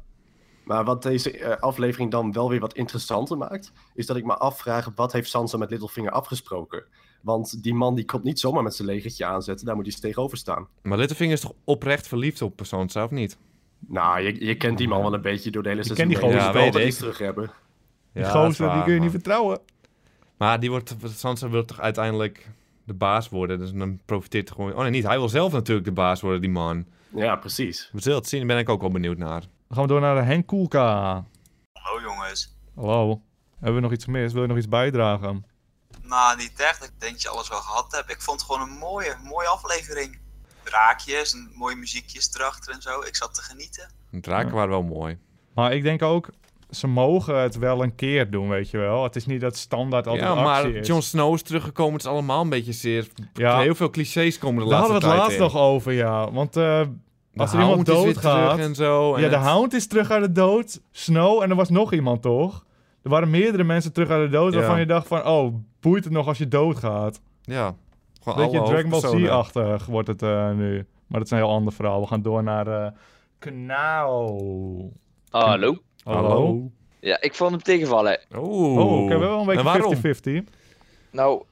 [SPEAKER 6] Maar wat deze eh, aflevering dan wel weer wat interessanter maakt, is dat ik me afvraag wat heeft Sansa met Littlefinger afgesproken? Want die man die komt niet zomaar met zijn legertje aanzetten, daar moet hij eens tegenover staan.
[SPEAKER 2] Maar Littlefinger is toch oprecht verliefd op persoon, of niet?
[SPEAKER 6] Nou, je, je kent die man wel een beetje door de hele seizoen.
[SPEAKER 1] ken die
[SPEAKER 6] heen. Je
[SPEAKER 1] gozer
[SPEAKER 6] weet
[SPEAKER 2] wel.
[SPEAKER 6] dat
[SPEAKER 2] Ja,
[SPEAKER 6] hij
[SPEAKER 2] weet
[SPEAKER 6] iets terug hebben.
[SPEAKER 1] Die
[SPEAKER 2] Ja, dat is
[SPEAKER 1] gozer,
[SPEAKER 2] waar,
[SPEAKER 1] die kun je niet
[SPEAKER 2] man.
[SPEAKER 1] vertrouwen.
[SPEAKER 2] Maar die wordt, Sansa wil toch uiteindelijk de baas worden, dus dan profiteert hij gewoon... Oh nee, niet. Hij wil zelf natuurlijk de baas worden, die man.
[SPEAKER 6] Ja, precies.
[SPEAKER 2] We zullen het zien, daar ben ik ook wel benieuwd naar.
[SPEAKER 1] Dan gaan we door naar Henk Koelka.
[SPEAKER 7] Hallo jongens.
[SPEAKER 1] Hallo. Hebben we nog iets gemist? Wil je nog iets bijdragen?
[SPEAKER 7] Nou, niet echt. Ik denk dat je alles wel gehad hebt. Ik vond het gewoon een mooie, mooie aflevering. Draakjes en mooie muziekjes erachter en zo. Ik zat te genieten.
[SPEAKER 2] De draken
[SPEAKER 1] Ja.
[SPEAKER 2] waren wel mooi.
[SPEAKER 1] Maar ik denk ook, ze mogen het wel een keer doen, weet je wel. Het is niet dat standaard altijd
[SPEAKER 2] Ja,
[SPEAKER 1] actie
[SPEAKER 2] maar
[SPEAKER 1] is.
[SPEAKER 2] Jon Snow is teruggekomen, het is allemaal een beetje zeer...
[SPEAKER 1] Ja.
[SPEAKER 2] Heel veel clichés komen de
[SPEAKER 1] Daar
[SPEAKER 2] laatste
[SPEAKER 1] hadden we het
[SPEAKER 2] tijd
[SPEAKER 1] laatst
[SPEAKER 2] in.
[SPEAKER 1] nog over, ja. Want eh,
[SPEAKER 2] De
[SPEAKER 1] als er iemand
[SPEAKER 2] Hound is weer terug
[SPEAKER 1] doodgaat...
[SPEAKER 2] en zo. en
[SPEAKER 1] Ja, de
[SPEAKER 2] het-
[SPEAKER 1] Hound is terug uit de dood. Snow, en er was nog iemand, toch? Er waren meerdere mensen terug uit de dood
[SPEAKER 2] Ja.
[SPEAKER 1] waarvan je dacht van... Oh, boeit het nog als je doodgaat?
[SPEAKER 2] Ja, gewoon
[SPEAKER 1] Beetje
[SPEAKER 2] alle
[SPEAKER 1] Dragon Ball
[SPEAKER 2] hoofdpersonen.
[SPEAKER 1] Z-achtig wordt het eh, nu. Maar dat is een heel ander verhaal. We gaan door naar... eh Knauw.
[SPEAKER 4] Hallo?
[SPEAKER 1] Hallo.
[SPEAKER 2] Hallo.
[SPEAKER 4] Ja, ik vond hem tegenvallen.
[SPEAKER 2] Oeh.
[SPEAKER 1] Oh, oké, we hebben wel
[SPEAKER 2] En waarom?
[SPEAKER 1] een beetje 50-50.
[SPEAKER 4] Nou,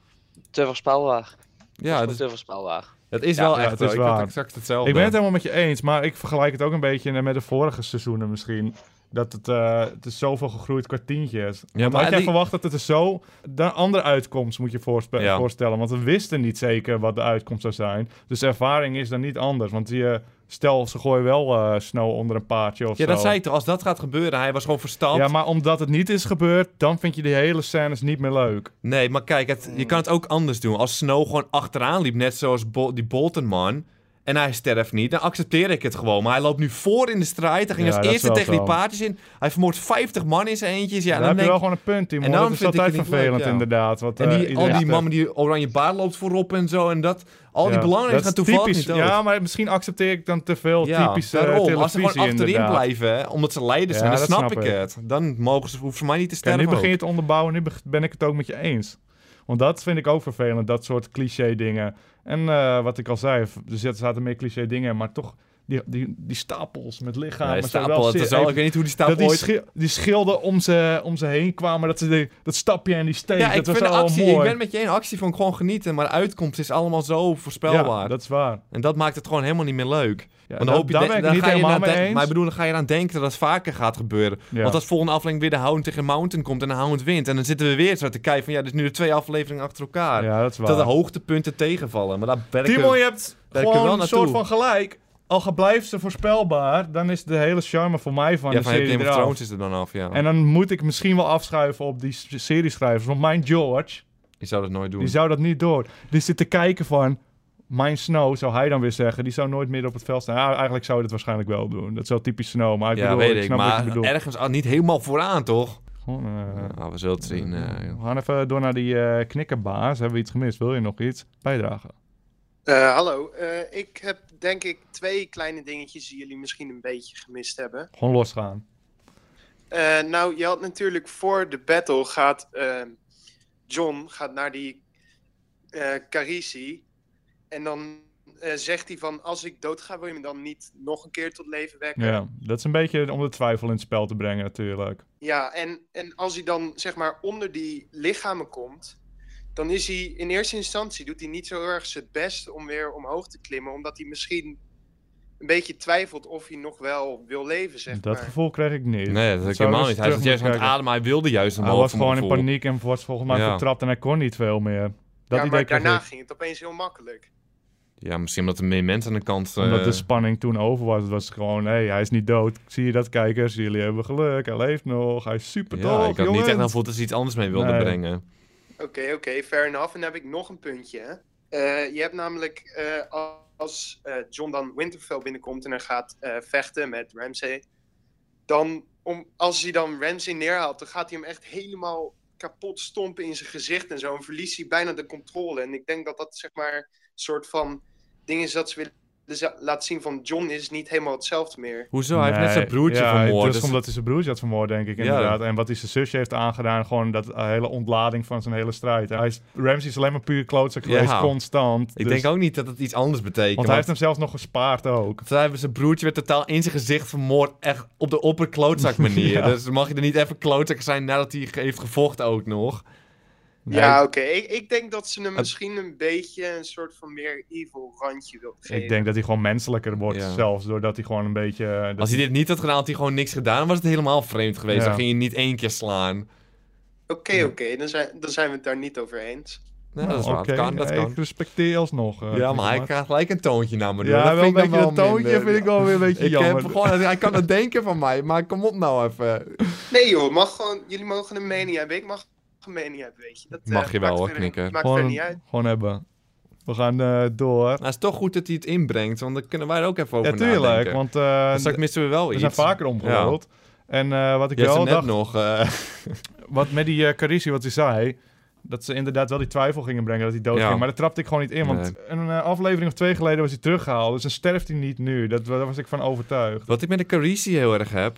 [SPEAKER 8] te voorspelbaar.
[SPEAKER 2] Ja,
[SPEAKER 8] dat
[SPEAKER 2] het
[SPEAKER 8] is
[SPEAKER 2] is,
[SPEAKER 8] te voorspelbaar.
[SPEAKER 2] het is
[SPEAKER 1] Ja,
[SPEAKER 2] wel
[SPEAKER 1] ja,
[SPEAKER 2] echt
[SPEAKER 1] het
[SPEAKER 2] zo.
[SPEAKER 1] is
[SPEAKER 2] Ik had
[SPEAKER 1] waar.
[SPEAKER 2] exact hetzelfde.
[SPEAKER 1] Ik ben het helemaal met je eens, maar ik vergelijk het ook een beetje eh, met de vorige seizoenen misschien. Dat het, eh, het is zoveel gegroeid qua tientjes.
[SPEAKER 2] Ja,
[SPEAKER 1] Maar
[SPEAKER 2] maar
[SPEAKER 1] had jij
[SPEAKER 2] die-
[SPEAKER 1] verwacht dat het er zo... De andere uitkomst moet je voorspe-
[SPEAKER 2] Ja.
[SPEAKER 1] voorstellen. Want we wisten niet zeker wat de uitkomst zou zijn. Dus de ervaring is dan niet anders. Want je, stel, ze gooien wel eh, snow onder een paardje of
[SPEAKER 2] Ja,
[SPEAKER 1] zo.
[SPEAKER 2] dat zei ik toch. Als dat gaat gebeuren, hij was gewoon verstand.
[SPEAKER 1] Ja, maar omdat het niet is gebeurd, dan vind je die hele scènes niet meer leuk.
[SPEAKER 2] Nee, maar kijk, het, je kan het ook anders doen. Als Snow gewoon achteraan liep, net zoals Bol- die Bolton-man... en hij sterft niet, dan accepteer ik het gewoon. Maar hij loopt nu voor in de strijd. Hij ging
[SPEAKER 1] Ja, dat
[SPEAKER 2] als
[SPEAKER 1] is
[SPEAKER 2] eerste
[SPEAKER 1] wel
[SPEAKER 2] tegen
[SPEAKER 1] zo.
[SPEAKER 2] die paardjes in. Hij vermoordt 50 man in zijn eentjes. Ja,
[SPEAKER 1] dan,
[SPEAKER 2] dan
[SPEAKER 1] heb je
[SPEAKER 2] denk
[SPEAKER 1] wel
[SPEAKER 2] ik-
[SPEAKER 1] gewoon een punt, Timo.
[SPEAKER 2] En
[SPEAKER 1] Dat
[SPEAKER 2] daarom
[SPEAKER 1] is
[SPEAKER 2] vind ik
[SPEAKER 1] altijd
[SPEAKER 2] het niet leuk,
[SPEAKER 1] vervelend,
[SPEAKER 2] ja.
[SPEAKER 1] inderdaad. Wat,
[SPEAKER 2] En
[SPEAKER 1] eh,
[SPEAKER 2] die, al
[SPEAKER 1] iedereen-
[SPEAKER 2] die mannen die oranje baard loopt voorop en zo en dat. Al die
[SPEAKER 1] Ja,
[SPEAKER 2] belangrijke
[SPEAKER 1] dat
[SPEAKER 2] gaan
[SPEAKER 1] is
[SPEAKER 2] toevallig
[SPEAKER 1] typisch-
[SPEAKER 2] niet dood.
[SPEAKER 1] Ja, maar misschien accepteer ik dan te veel
[SPEAKER 2] Ja,
[SPEAKER 1] typische eh,
[SPEAKER 2] daarom.
[SPEAKER 1] televisie
[SPEAKER 2] Als ze gewoon achterin
[SPEAKER 1] inderdaad.
[SPEAKER 2] blijven, hè, omdat ze leiders
[SPEAKER 1] Ja,
[SPEAKER 2] zijn, dan
[SPEAKER 1] dat
[SPEAKER 2] snap,
[SPEAKER 1] snap
[SPEAKER 2] ik
[SPEAKER 1] ik.
[SPEAKER 2] het. Dan mogen ze, hoeven ze mij niet te
[SPEAKER 1] Kijk,
[SPEAKER 2] sterven
[SPEAKER 1] nu begin je
[SPEAKER 2] ook.
[SPEAKER 1] het onderbouwen, nu beg- ben ik het ook met je eens. Want dat vind ik ook vervelend, dat soort cliché dingen. En eh, wat ik al zei, v- er zitten- zaten meer cliché dingen, in, maar toch die, die, die stapels met lichamen.
[SPEAKER 2] Nee,
[SPEAKER 1] zo
[SPEAKER 2] stapel,
[SPEAKER 1] wel
[SPEAKER 2] het
[SPEAKER 1] zeer
[SPEAKER 2] is al-
[SPEAKER 1] even-
[SPEAKER 2] ik weet niet hoe die stapel
[SPEAKER 1] dat die,
[SPEAKER 2] ooit...
[SPEAKER 1] schi- die schilden om ze, om ze heen kwamen, dat, ze de- dat stapje en die steek,
[SPEAKER 2] ja, ik
[SPEAKER 1] dat was
[SPEAKER 2] vind de
[SPEAKER 1] allemaal
[SPEAKER 2] actie,
[SPEAKER 1] mooi.
[SPEAKER 2] ik ben met je in actie van gewoon genieten, maar de uitkomst is allemaal zo voorspelbaar.
[SPEAKER 1] Ja, dat is waar.
[SPEAKER 2] En dat maakt het gewoon helemaal niet meer leuk. Want
[SPEAKER 1] Ja,
[SPEAKER 2] dan
[SPEAKER 1] dat-
[SPEAKER 2] hoop je,
[SPEAKER 1] daar
[SPEAKER 2] de-
[SPEAKER 1] ben ik
[SPEAKER 2] dan
[SPEAKER 1] niet
[SPEAKER 2] ga je
[SPEAKER 1] helemaal
[SPEAKER 2] eraan
[SPEAKER 1] mee
[SPEAKER 2] de-
[SPEAKER 1] eens.
[SPEAKER 2] Maar ik bedoel, dan ga je eraan denken dat dat vaker gaat gebeuren.
[SPEAKER 1] Ja.
[SPEAKER 2] Want als volgende aflevering weer de hound tegen Mountain komt en de hound wint. En dan zitten we weer zo te kijken van ja, dit is nu de twee afleveringen achter elkaar.
[SPEAKER 1] Ja, dat is waar.
[SPEAKER 2] Dat de hoogtepunten tegenvallen. Maar daar werken
[SPEAKER 1] Timo, je hebt
[SPEAKER 2] daar kun je
[SPEAKER 1] gewoon
[SPEAKER 2] wel
[SPEAKER 1] een
[SPEAKER 2] naartoe.
[SPEAKER 1] soort van gelijk. Al ge- blijft ze voorspelbaar, dan is de hele charme voor mij van
[SPEAKER 2] ja,
[SPEAKER 1] de
[SPEAKER 2] van Game
[SPEAKER 1] serie
[SPEAKER 2] of
[SPEAKER 1] eraf.
[SPEAKER 2] Thrones is er dan af, ja.
[SPEAKER 1] En dan moet ik misschien wel afschuiven op die s- serieschrijvers. Want mijn George,
[SPEAKER 2] Ik zou dat nooit doen.
[SPEAKER 1] die zou dat niet door. Die zit te kijken van... Mijn Snow, zou hij dan weer zeggen. Die zou nooit midden op het veld staan. Ja, eigenlijk zou hij dat waarschijnlijk wel doen. Dat is wel typisch Snow. Maar ik
[SPEAKER 2] ja,
[SPEAKER 1] bedoel,
[SPEAKER 2] weet
[SPEAKER 1] ik
[SPEAKER 2] ik,
[SPEAKER 1] snap wat je
[SPEAKER 2] maar
[SPEAKER 1] bedoelt.
[SPEAKER 2] ergens al niet helemaal vooraan, toch?
[SPEAKER 1] Gewoon, eh,
[SPEAKER 2] Nou, we zullen het zien. eh, joh.
[SPEAKER 1] we gaan even door naar die eh, knikkerbaas. Hebben we iets gemist? Wil je nog iets bijdragen?
[SPEAKER 9] Eh, hallo, Eh, ik heb denk ik twee kleine dingetjes die jullie misschien een beetje gemist hebben.
[SPEAKER 1] Gewoon losgaan.
[SPEAKER 9] Eh, nou, je had natuurlijk voor de battle gaat ehm, John gaat naar die eh Carisi en dan eh, zegt hij van als ik dood ga wil je me dan niet nog een keer tot leven wekken.
[SPEAKER 1] Ja, dat is een beetje om de twijfel in het spel te brengen natuurlijk.
[SPEAKER 9] Ja, en, en als hij dan zeg maar onder die lichamen komt, dan is hij in eerste instantie doet hij niet zo erg zijn best om weer omhoog te klimmen, omdat hij misschien een beetje twijfelt of hij nog wel wil leven, zeg
[SPEAKER 1] dat
[SPEAKER 9] maar.
[SPEAKER 1] gevoel kreeg ik niet.
[SPEAKER 2] Nee, dat
[SPEAKER 1] zou
[SPEAKER 2] is helemaal
[SPEAKER 1] eens
[SPEAKER 2] niet. Hij
[SPEAKER 1] terug
[SPEAKER 2] zat juist aan
[SPEAKER 1] moeten
[SPEAKER 2] het ademen, hij wilde juist
[SPEAKER 1] Hij
[SPEAKER 2] omhoog.
[SPEAKER 1] was
[SPEAKER 2] voor mijn
[SPEAKER 1] gewoon in
[SPEAKER 2] gevoel.
[SPEAKER 1] paniek en was volgens mij
[SPEAKER 2] Ja.
[SPEAKER 1] vertrapt en hij kon niet veel meer. Dat
[SPEAKER 9] ja,
[SPEAKER 1] idee
[SPEAKER 9] maar
[SPEAKER 1] kreeg
[SPEAKER 9] daarna
[SPEAKER 1] ik.
[SPEAKER 9] ging het opeens heel makkelijk.
[SPEAKER 2] Ja, misschien omdat er meer mensen aan de kant... eh,
[SPEAKER 1] Omdat de spanning toen over was. Het was gewoon, hé, hij is niet dood. Zie je dat, kijkers? Jullie hebben geluk. Hij leeft nog. Hij is super
[SPEAKER 2] ja,
[SPEAKER 1] doof,
[SPEAKER 2] ik had niet echt
[SPEAKER 1] jongens.
[SPEAKER 2] aan voelt dat ze iets anders mee wilden
[SPEAKER 1] Nee.
[SPEAKER 2] brengen.
[SPEAKER 9] Oké, oké, fair enough. En dan heb ik nog een puntje. hè. Eh, je hebt namelijk eh, als eh, John dan Winterfell binnenkomt en hij gaat eh, vechten met Ramsay, dan om, als hij dan Ramsay neerhaalt, dan gaat hij hem echt helemaal kapot stompen in zijn gezicht en zo. En verliest hij bijna de controle. En ik denk dat dat zeg maar een soort van ding is dat ze willen za- laten zien van John is niet helemaal hetzelfde meer.
[SPEAKER 2] Hoezo? Hij heeft net
[SPEAKER 1] Nee,
[SPEAKER 2] zijn broertje
[SPEAKER 1] ja,
[SPEAKER 2] vermoord.
[SPEAKER 1] Dat is
[SPEAKER 2] dus-
[SPEAKER 1] omdat hij zijn broertje had vermoord, denk ik,
[SPEAKER 2] Ja.
[SPEAKER 1] inderdaad. En wat hij zijn zusje heeft aangedaan, gewoon dat eh, hele ontlading van zijn hele strijd. Hij is, Ramsey is alleen maar puur klootzak geweest,
[SPEAKER 2] Ja.
[SPEAKER 1] constant.
[SPEAKER 2] Ik
[SPEAKER 1] Dus-
[SPEAKER 2] denk ook niet dat het iets anders betekent.
[SPEAKER 1] Want hij heeft hem zelfs nog gespaard ook.
[SPEAKER 2] want hij heeft zijn broertje werd totaal in zijn gezicht vermoord. Echt op de
[SPEAKER 1] [LAUGHS]
[SPEAKER 2] opperklootzak manier.
[SPEAKER 1] Ja.
[SPEAKER 2] Dus mag je er niet even klootzak zijn nadat hij ge- heeft gevochten ook nog.
[SPEAKER 9] Ja, oké. Ik, ik denk dat ze hem
[SPEAKER 2] Het-
[SPEAKER 9] misschien een beetje een soort van meer evil randje wil geven.
[SPEAKER 1] Ik denk dat hij gewoon menselijker wordt,
[SPEAKER 2] Ja.
[SPEAKER 1] zelfs doordat hij gewoon een beetje... eh, dat
[SPEAKER 2] Als hij dit niet had gedaan, had hij gewoon niks gedaan. Dan was het helemaal vreemd geweest.
[SPEAKER 1] Ja.
[SPEAKER 2] Dan ging je niet één keer slaan.
[SPEAKER 9] Oké, oké, dan, zijn, dan zijn we het daar niet over eens.
[SPEAKER 2] Nee,
[SPEAKER 1] Nou,
[SPEAKER 2] dat is waar.
[SPEAKER 1] oké,
[SPEAKER 2] Dat kan, dat
[SPEAKER 1] ja,
[SPEAKER 2] kan.
[SPEAKER 1] Ik respecteer alsnog.
[SPEAKER 2] Ja,
[SPEAKER 1] eh,
[SPEAKER 2] maar hij
[SPEAKER 1] Knikkerd.
[SPEAKER 2] krijgt gelijk een toontje naar me. door.
[SPEAKER 1] Ja,
[SPEAKER 2] dat
[SPEAKER 1] wel
[SPEAKER 2] vind
[SPEAKER 1] een
[SPEAKER 2] ik dan
[SPEAKER 1] beetje dat
[SPEAKER 2] wel
[SPEAKER 1] toontje
[SPEAKER 2] minder.
[SPEAKER 1] vind ik
[SPEAKER 2] [LAUGHS]
[SPEAKER 1] wel weer een beetje
[SPEAKER 2] Ik
[SPEAKER 1] jammer.
[SPEAKER 2] heb gewoon, hij kan het denken van mij, maar kom op nou even.
[SPEAKER 9] Nee joh, mag gewoon, jullie mogen een mening hebben. Ik mag een mening hebben, weet je. Dat, eh,
[SPEAKER 2] Mag je wel,
[SPEAKER 9] maakt
[SPEAKER 2] hoor,
[SPEAKER 9] verder-
[SPEAKER 2] knikker.
[SPEAKER 9] Maakt verder
[SPEAKER 1] gewoon,
[SPEAKER 9] niet uit.
[SPEAKER 1] gewoon hebben. We gaan eh, door.
[SPEAKER 2] Maar Nou, het is toch goed dat hij het inbrengt, want dan kunnen wij er ook even over
[SPEAKER 1] Ja, tuurlijk,
[SPEAKER 2] nadenken.
[SPEAKER 1] want eh,
[SPEAKER 2] Want straks missen we wel
[SPEAKER 1] we
[SPEAKER 2] iets.
[SPEAKER 1] zijn vaker omgerold. En eh, wat ik
[SPEAKER 2] Je hebt
[SPEAKER 1] wel
[SPEAKER 2] er net
[SPEAKER 1] dacht,
[SPEAKER 2] nog. eh,
[SPEAKER 1] [LAUGHS] wat met die eh Carisi, wat hij zei, dat ze inderdaad wel die twijfel gingen brengen dat hij dood
[SPEAKER 2] Ja.
[SPEAKER 1] ging. Maar dat trapte ik gewoon niet in, want een eh, aflevering of twee geleden was hij teruggehaald. Dus dan sterft hij niet nu. Dat, daar was ik van overtuigd.
[SPEAKER 2] wat ik met de Carisi heel erg heb,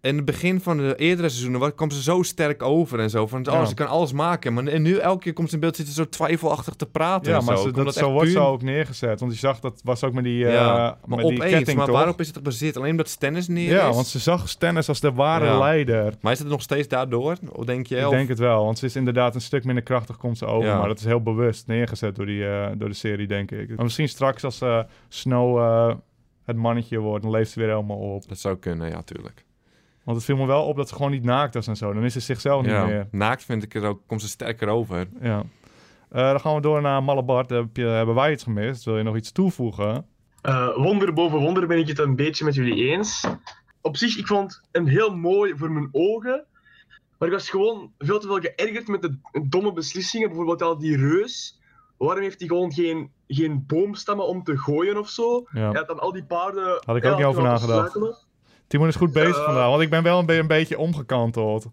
[SPEAKER 2] in het begin van de eerdere seizoenen wa- kwam ze zo sterk over en zo. Van, oh,
[SPEAKER 1] Ja.
[SPEAKER 2] ze kan alles maken. Maar, en nu elke keer komt ze in beeld, zit ze zo twijfelachtig te praten
[SPEAKER 1] Ja,
[SPEAKER 2] en
[SPEAKER 1] maar
[SPEAKER 2] zo.
[SPEAKER 1] ze,
[SPEAKER 2] Komt
[SPEAKER 1] dat,
[SPEAKER 2] echt
[SPEAKER 1] zo wordt
[SPEAKER 2] puur-
[SPEAKER 1] ze ook neergezet. Want je zag dat was ook met die, eh
[SPEAKER 2] Ja,
[SPEAKER 1] met
[SPEAKER 2] maar
[SPEAKER 1] die
[SPEAKER 2] opeens,
[SPEAKER 1] ketting
[SPEAKER 2] maar
[SPEAKER 1] toch?
[SPEAKER 2] waarop is het gebaseerd? Alleen omdat Stennis neer
[SPEAKER 1] Ja,
[SPEAKER 2] is?
[SPEAKER 1] want ze zag Stennis als de ware
[SPEAKER 2] Ja.
[SPEAKER 1] leider.
[SPEAKER 2] Maar is het nog steeds daardoor, Of denk je?
[SPEAKER 1] Ik
[SPEAKER 2] Of-
[SPEAKER 1] denk het wel, want ze is inderdaad een stuk minder krachtig komt ze over.
[SPEAKER 2] Ja.
[SPEAKER 1] Maar dat is heel bewust neergezet door, die, eh, door de serie, denk ik. Maar misschien straks als eh, Snow eh, het mannetje wordt, dan leeft ze weer helemaal op.
[SPEAKER 2] Dat zou kunnen, ja, tuurlijk.
[SPEAKER 1] Want het viel me wel op dat ze gewoon niet naakt was en zo. Dan is ze zichzelf
[SPEAKER 2] Ja.
[SPEAKER 1] niet meer.
[SPEAKER 2] Naakt vind ik er ook, komt ze sterker over.
[SPEAKER 1] Ja. Eh, dan gaan we door naar Malabart. Heb je, hebben wij iets gemist? Wil je nog iets toevoegen?
[SPEAKER 8] Eh, wonder boven wonder ben ik het een beetje met jullie eens. Op zich, ik vond hem heel mooi voor mijn ogen. Maar ik was gewoon veel te veel geërgerd met de domme beslissingen. Bijvoorbeeld al die reus. Waarom heeft hij gewoon geen, geen boomstammen om te gooien of zo?
[SPEAKER 1] Ja.
[SPEAKER 8] Hij had dan al die paarden...
[SPEAKER 1] Had ik
[SPEAKER 8] ja,
[SPEAKER 1] ook niet over
[SPEAKER 8] laten
[SPEAKER 1] nagedacht.
[SPEAKER 8] struikelen.
[SPEAKER 1] Timon is goed bezig
[SPEAKER 8] Eh.
[SPEAKER 1] vandaag, want ik ben wel een, be- een beetje omgekanteld.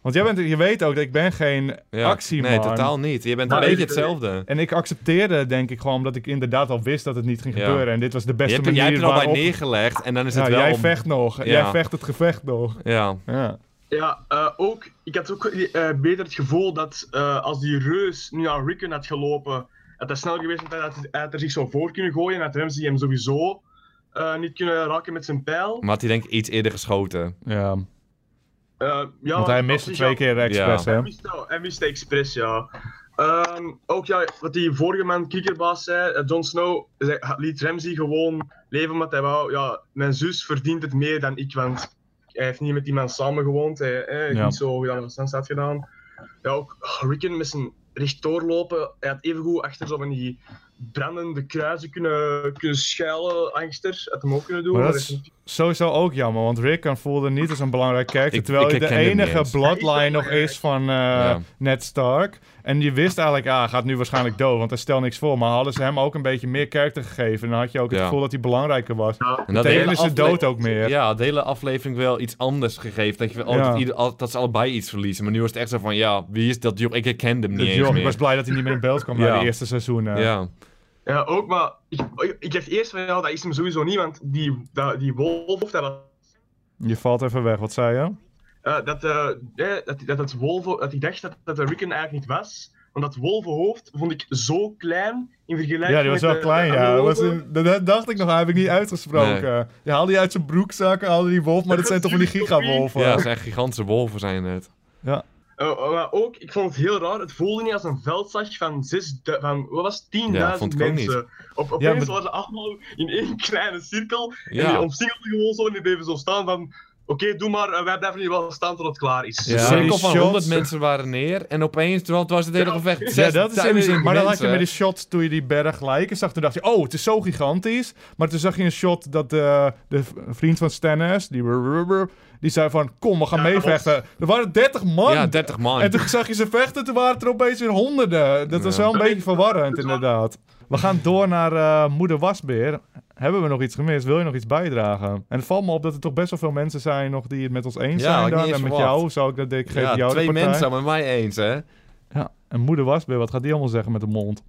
[SPEAKER 1] Want jij bent, je weet ook dat ik ben geen
[SPEAKER 2] Ja.
[SPEAKER 1] actieman.
[SPEAKER 2] Nee, totaal niet. Je bent
[SPEAKER 8] Maar
[SPEAKER 2] een beetje
[SPEAKER 8] even-
[SPEAKER 2] hetzelfde.
[SPEAKER 1] En ik accepteerde, denk ik, gewoon, omdat ik inderdaad al wist dat het niet ging
[SPEAKER 2] Ja.
[SPEAKER 1] gebeuren. En dit was de
[SPEAKER 2] Je
[SPEAKER 1] beste
[SPEAKER 2] hebt, er-
[SPEAKER 1] manier
[SPEAKER 2] jij hebt er al bij
[SPEAKER 1] waarop...
[SPEAKER 2] neergelegd en dan is het
[SPEAKER 1] Ja,
[SPEAKER 2] wel...
[SPEAKER 1] jij
[SPEAKER 2] om-
[SPEAKER 1] vecht nog.
[SPEAKER 2] Ja.
[SPEAKER 1] Jij vecht het gevecht nog.
[SPEAKER 2] Ja,
[SPEAKER 1] Ja.
[SPEAKER 8] Ja, eh, ook, ik had ook eh, beter het gevoel dat eh, als die reus nu aan Rickon had gelopen, dat hij sneller geweest was, dat hij, hij had er zich zo voor kunnen gooien en had Ramsey hem sowieso eh, niet kunnen raken met zijn pijl.
[SPEAKER 2] maar had hij denk ik iets eerder geschoten.
[SPEAKER 1] ja.
[SPEAKER 8] Eh, ja,
[SPEAKER 1] Want hij
[SPEAKER 8] op
[SPEAKER 1] miste
[SPEAKER 8] zich
[SPEAKER 1] twee
[SPEAKER 8] had-
[SPEAKER 1] keer expres,
[SPEAKER 2] Ja.
[SPEAKER 1] hè?
[SPEAKER 8] Hij miste, hij miste expres, ja. Ehm, ook ja, wat die vorige man, Kiekerbaas, zei, eh, Jon Snow, zei- liet Ramsey gewoon leven omdat hij wou. Ja, mijn zus verdient het meer dan ik, want hij heeft niet met die man samengewoond. Hij hij heeft
[SPEAKER 1] Ja.
[SPEAKER 8] niet zo gedaan als Sansa had gedaan. Ja, ook oh, Rickon met zijn rechtdoor lopen. Hij had evengoed achter zo van die brandende kruisen kunnen, kunnen schuilen, angster. Had hem ook kunnen doen.
[SPEAKER 1] Maar dat
[SPEAKER 8] maar
[SPEAKER 1] is
[SPEAKER 8] hij heeft-
[SPEAKER 1] Sowieso ook jammer, want Rickon voelde niet als een belangrijk karakter.
[SPEAKER 2] Ik-
[SPEAKER 1] terwijl
[SPEAKER 2] ik
[SPEAKER 1] hij de
[SPEAKER 2] herken hem niet
[SPEAKER 1] enige
[SPEAKER 2] eens.
[SPEAKER 1] bloodline nog is van eh,
[SPEAKER 2] Ja.
[SPEAKER 1] Ned Stark. En je wist eigenlijk, ah, hij gaat nu waarschijnlijk dood, want hij stelt niks voor. Maar hadden ze hem ook een beetje meer karakter gegeven, en dan had je ook het
[SPEAKER 2] Ja.
[SPEAKER 1] gevoel dat hij belangrijker was.
[SPEAKER 8] ja.
[SPEAKER 2] En dat de
[SPEAKER 1] Tegen
[SPEAKER 2] hele
[SPEAKER 1] is de
[SPEAKER 2] afle-
[SPEAKER 1] dood ook meer.
[SPEAKER 2] Ja, de hele aflevering wel iets anders gegeven. Dat, je, oh,
[SPEAKER 1] Ja.
[SPEAKER 2] dat, ieder- al- dat ze allebei iets verliezen. Maar nu was het echt zo van, ja, wie is dat joch? Ik herkende hem niet
[SPEAKER 1] Dus
[SPEAKER 2] eens
[SPEAKER 1] joh, ik
[SPEAKER 2] meer.
[SPEAKER 1] was blij dat hij niet meer in beeld kwam
[SPEAKER 2] Ja.
[SPEAKER 1] bij de eerste seizoenen.
[SPEAKER 2] Ja,
[SPEAKER 8] Ja, ook, maar ik, ik, ik dacht eerst van ja, dat is hem sowieso niet, want die, dat, die wolf, dat,
[SPEAKER 1] Je valt even weg, wat zei je?
[SPEAKER 8] eh, dat, eh, eh, dat, dat het wolven, dat ik dacht dat, dat de Rickon eigenlijk niet was. Want dat wolvenhoofd vond ik zo klein in vergelijking met...
[SPEAKER 1] Ja, die was wel
[SPEAKER 8] de-
[SPEAKER 1] klein,
[SPEAKER 8] de
[SPEAKER 1] ja.
[SPEAKER 8] andere
[SPEAKER 1] Dat, was
[SPEAKER 8] wolven.
[SPEAKER 1] een- dat- dat dacht ik nog, Nou, heb ik niet uitgesproken. Je haalde die uit zijn broekzak, haalde die wolf, maar dat zijn toch van die gigawolven?
[SPEAKER 2] ja, het zijn gigantische wolven zijn het.
[SPEAKER 8] Eh, eh, maar ook, ik vond het heel raar, het voelde niet als een veldzag van, zes, van wat was het, 10.000
[SPEAKER 2] vond ik ook
[SPEAKER 8] mensen. Op, opeens
[SPEAKER 1] Ja, maar-
[SPEAKER 8] waren ze allemaal in één kleine cirkel en die
[SPEAKER 2] Ja,
[SPEAKER 8] omsingelden gewoon zo en die bleven zo staan van... Oké, doe maar, eh, wij blijven hier wel staan tot het klaar is.
[SPEAKER 2] een
[SPEAKER 1] Ja,
[SPEAKER 2] cirkel
[SPEAKER 1] die
[SPEAKER 2] van
[SPEAKER 1] shots.
[SPEAKER 2] 100 mensen waren neer. En opeens, terwijl het was het hele
[SPEAKER 8] Ja.
[SPEAKER 2] gevecht.
[SPEAKER 1] Ja, dat is
[SPEAKER 2] 6000
[SPEAKER 1] interessant. Maar dan had je
[SPEAKER 2] mensen.
[SPEAKER 1] met die shot toen je die berg lijken zag, toen dacht je, oh, het is zo gigantisch. Maar toen zag je een shot dat de, de v- vriend van Stannis, die, die zei van, kom, we gaan
[SPEAKER 8] Ja,
[SPEAKER 1] meevechten. Er waren 30 man.
[SPEAKER 2] Ja, 30 man.
[SPEAKER 1] en toen zag je ze vechten, toen waren het er opeens weer honderden. Dat was
[SPEAKER 2] Ja.
[SPEAKER 1] wel een
[SPEAKER 8] Ja,
[SPEAKER 1] beetje
[SPEAKER 8] dat-
[SPEAKER 1] verwarrend,
[SPEAKER 8] dat is wel-
[SPEAKER 1] inderdaad. We gaan door naar eh, Moeder Wasbeer. Hebben we nog iets gemist? Wil je nog iets bijdragen? En het valt me op dat er toch best wel veel mensen zijn nog die het met ons eens
[SPEAKER 2] Ja, had ik
[SPEAKER 1] zijn.
[SPEAKER 2] niet
[SPEAKER 1] Dan.
[SPEAKER 2] eens
[SPEAKER 1] En met
[SPEAKER 2] verwacht.
[SPEAKER 1] jou zou ik dat ik geef
[SPEAKER 2] ja,
[SPEAKER 1] jou de
[SPEAKER 2] twee
[SPEAKER 1] partij.
[SPEAKER 2] mensen zijn met mij eens, hè.
[SPEAKER 1] Ja, en Moeder Wasbeer, wat gaat die allemaal zeggen met de mond?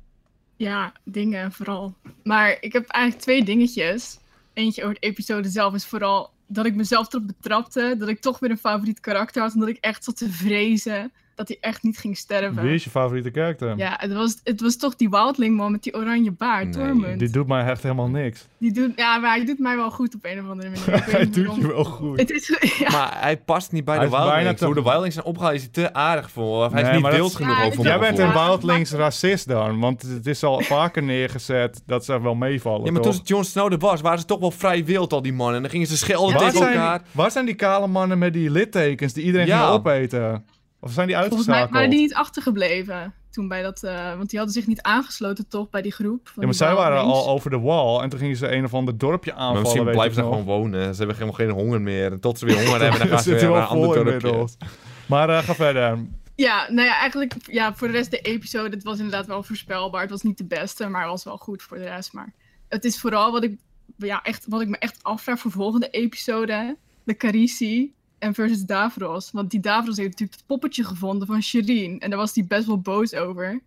[SPEAKER 10] Ja, dingen vooral. Maar ik heb eigenlijk twee dingetjes. Eentje over de episode zelf is vooral dat ik mezelf erop betrapte. Dat ik toch weer een favoriet karakter had. En dat ik echt zat te vrezen dat hij echt niet ging sterven.
[SPEAKER 1] Wie is je favoriete karakter?
[SPEAKER 10] Ja, het was, het was toch die wildling man met die oranje baard,
[SPEAKER 2] Nee,
[SPEAKER 10] Tormund.
[SPEAKER 1] Die doet mij echt helemaal niks.
[SPEAKER 10] Die doet, ja, maar hij doet mij wel goed op een of andere
[SPEAKER 1] [LAUGHS]
[SPEAKER 10] manier. Ik weet
[SPEAKER 1] Hij
[SPEAKER 10] niet
[SPEAKER 1] doet
[SPEAKER 10] waarom.
[SPEAKER 1] je wel goed.
[SPEAKER 10] Het is, [LAUGHS] ja,
[SPEAKER 2] Maar hij past niet bij
[SPEAKER 1] Hij
[SPEAKER 2] de
[SPEAKER 1] is bijna
[SPEAKER 2] Wildlings.
[SPEAKER 1] te-
[SPEAKER 2] Hoe de Wildlings zijn opgehaald is hij te aardig voor. Of hij
[SPEAKER 1] Nee,
[SPEAKER 2] is
[SPEAKER 1] maar
[SPEAKER 2] niet
[SPEAKER 1] dat-
[SPEAKER 2] wild genoeg
[SPEAKER 10] Ja,
[SPEAKER 2] over
[SPEAKER 10] ik
[SPEAKER 1] Jij
[SPEAKER 10] Ja,
[SPEAKER 1] bent
[SPEAKER 10] ja.
[SPEAKER 1] een Wildlings racist dan, want het is al vaker neergezet dat ze wel meevallen.
[SPEAKER 2] Ja, maar toen
[SPEAKER 1] toch?
[SPEAKER 2] het Jon Snow er was, waren ze toch wel vrij wild, al die mannen. En dan gingen ze schelden
[SPEAKER 1] waar,
[SPEAKER 2] tegen
[SPEAKER 1] zijn,
[SPEAKER 2] elkaar.
[SPEAKER 1] waar zijn die kale mannen met die littekens die iedereen
[SPEAKER 2] Ja.
[SPEAKER 1] ging opeten? Of zijn die
[SPEAKER 10] volgens mij
[SPEAKER 1] uitgeschakeld?
[SPEAKER 10] waren die niet achtergebleven. Toen bij dat, eh, want die hadden zich niet aangesloten toch bij die groep. van
[SPEAKER 1] Ja, maar
[SPEAKER 10] die
[SPEAKER 1] zij waren
[SPEAKER 10] wildlings.
[SPEAKER 1] al over de wall en toen gingen ze een of ander dorpje aanvallen.
[SPEAKER 2] Maar misschien
[SPEAKER 1] weet
[SPEAKER 2] blijven ze
[SPEAKER 1] ik nog.
[SPEAKER 2] gewoon wonen. Ze hebben helemaal geen honger meer. En tot ze weer
[SPEAKER 1] [LAUGHS]
[SPEAKER 2] honger hebben, dan gaan
[SPEAKER 1] Ze
[SPEAKER 2] ze weer
[SPEAKER 1] zitten
[SPEAKER 2] naar
[SPEAKER 1] wel
[SPEAKER 2] een ander
[SPEAKER 1] vol
[SPEAKER 2] dorpje.
[SPEAKER 1] inmiddels. Maar eh, ga verder.
[SPEAKER 10] Ja, nou ja, eigenlijk ja, voor de rest de episode, het was inderdaad wel voorspelbaar. Het was niet de beste, maar het was wel goed voor de rest. Maar het is vooral wat ik, ja, echt, wat ik me echt afvraag voor volgende episode. De Carisi en versus Davros. Want die Davros heeft natuurlijk het poppetje gevonden van Shireen. En daar was hij best wel boos over.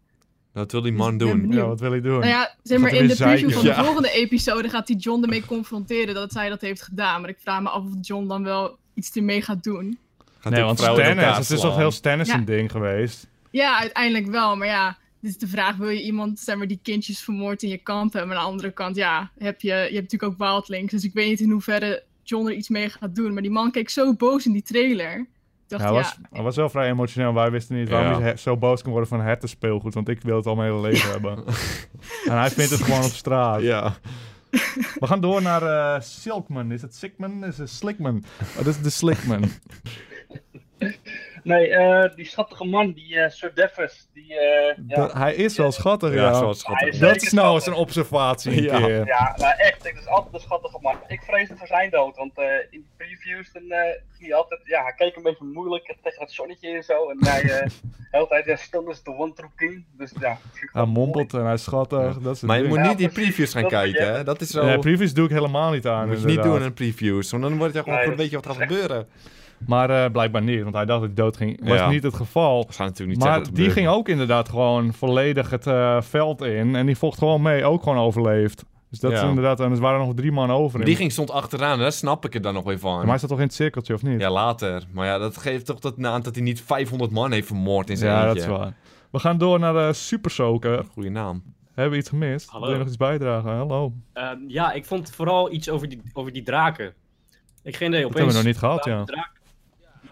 [SPEAKER 2] Dat wil die man
[SPEAKER 10] Dus ik ben
[SPEAKER 2] doen.
[SPEAKER 10] benieuwd.
[SPEAKER 1] Ja, wat wil ik doen?
[SPEAKER 10] Nou ja, zeg maar
[SPEAKER 1] hij
[SPEAKER 10] in de
[SPEAKER 1] weer
[SPEAKER 10] preview
[SPEAKER 1] zeiken?
[SPEAKER 10] van de
[SPEAKER 2] Ja.
[SPEAKER 10] volgende episode gaat hij John ermee confronteren dat zij dat heeft gedaan. Maar ik vraag me af of John dan wel iets ermee gaat doen.
[SPEAKER 1] nee,
[SPEAKER 2] ook
[SPEAKER 1] want
[SPEAKER 2] vrouwen in
[SPEAKER 1] Stennis,
[SPEAKER 2] elkaar
[SPEAKER 1] het is toch
[SPEAKER 2] slaan?
[SPEAKER 1] heel Stennis een
[SPEAKER 10] Ja.
[SPEAKER 1] ding geweest?
[SPEAKER 10] Ja, uiteindelijk wel. Maar ja, dit is de vraag: wil je iemand zeg maar, die kindjes vermoord in je kamp hebben? Maar aan de andere kant, ja, heb je, je hebt natuurlijk ook Wildlings. Dus ik weet niet in hoeverre John er iets mee gaat doen. Maar die man keek zo boos in die trailer. Ik dacht,
[SPEAKER 1] Ja, Nou, hij,
[SPEAKER 10] ja,
[SPEAKER 1] was, hij was wel vrij emotioneel. Wij wisten niet waarom
[SPEAKER 2] Ja.
[SPEAKER 1] hij zo boos kon worden van het speelgoed. Want ik wil het al mijn hele leven hebben. En hij vindt het gewoon op straat.
[SPEAKER 2] Ja.
[SPEAKER 1] We gaan door naar eh, Silkman. Is het Sickman? Is het Slickman? Oh, dat is de
[SPEAKER 2] [LAUGHS]
[SPEAKER 1] Slickman.
[SPEAKER 11] Nee, eh, die schattige man, die eh, Sir Devers, die... eh, ja.
[SPEAKER 1] Dat- hij is wel schattig,
[SPEAKER 2] Ja,
[SPEAKER 1] ja.
[SPEAKER 2] hij is wel schattig.
[SPEAKER 11] Hij is
[SPEAKER 1] Dat
[SPEAKER 11] zeker
[SPEAKER 1] is nou eens een
[SPEAKER 11] schattig.
[SPEAKER 1] observatie een
[SPEAKER 2] Ja.
[SPEAKER 1] keer.
[SPEAKER 11] Ja, nou echt, ik is altijd een schattige man. Ik vreesde voor zijn dood, want eh, in de previews dan, eh, ging hij altijd, ja, hij keek een beetje moeilijk tegen het zonnetje en zo. En hij, eh de hele tijd, ja, stil is de one true king. Dus ja,
[SPEAKER 1] Hij mompelt en hij is schattig. Dat is het
[SPEAKER 2] Maar je
[SPEAKER 1] ding.
[SPEAKER 2] moet
[SPEAKER 11] Ja,
[SPEAKER 2] niet die
[SPEAKER 11] precies.
[SPEAKER 2] previews gaan
[SPEAKER 11] Dat moet je
[SPEAKER 2] kijken, hè?
[SPEAKER 11] hebben.
[SPEAKER 2] Dat is zo...
[SPEAKER 1] Nee, previews doe ik helemaal niet aan.
[SPEAKER 2] moet je niet
[SPEAKER 1] inderdaad.
[SPEAKER 2] doen in previews, want dan wordt je gewoon
[SPEAKER 11] Nee,
[SPEAKER 2] een
[SPEAKER 11] dat
[SPEAKER 2] beetje wat gaat gebeuren.
[SPEAKER 1] Maar eh, blijkbaar niet, want hij dacht dat hij dood ging. Was
[SPEAKER 2] Ja.
[SPEAKER 1] niet het geval.
[SPEAKER 2] We gaan natuurlijk niet
[SPEAKER 1] Maar
[SPEAKER 2] zeggen
[SPEAKER 1] die ging ook inderdaad gewoon volledig het eh, veld in. En die vocht gewoon mee, ook gewoon overleefd. Dus dat is
[SPEAKER 2] Ja.
[SPEAKER 1] inderdaad... En er waren nog drie man over. in-
[SPEAKER 2] Die ging stond achteraan, en daar snap ik er dan nog weer van.
[SPEAKER 1] Maar hij zat toch in het cirkeltje, of niet?
[SPEAKER 2] Ja, later. Maar ja, dat geeft toch dat na dat hij niet 500 man heeft vermoord in zijn
[SPEAKER 1] Ja, dat
[SPEAKER 2] eentje.
[SPEAKER 1] is waar. We gaan door naar de Super Soaker.
[SPEAKER 2] Goeie naam.
[SPEAKER 1] Hebben we iets gemist?
[SPEAKER 12] Hallo.
[SPEAKER 1] Wil je nog iets bijdragen? Hallo.
[SPEAKER 12] Ehm, ja, ik vond vooral iets over die, over die draken. Ik geen idee, opeens...
[SPEAKER 1] hebben we nog niet gehad, ja.
[SPEAKER 12] Draak-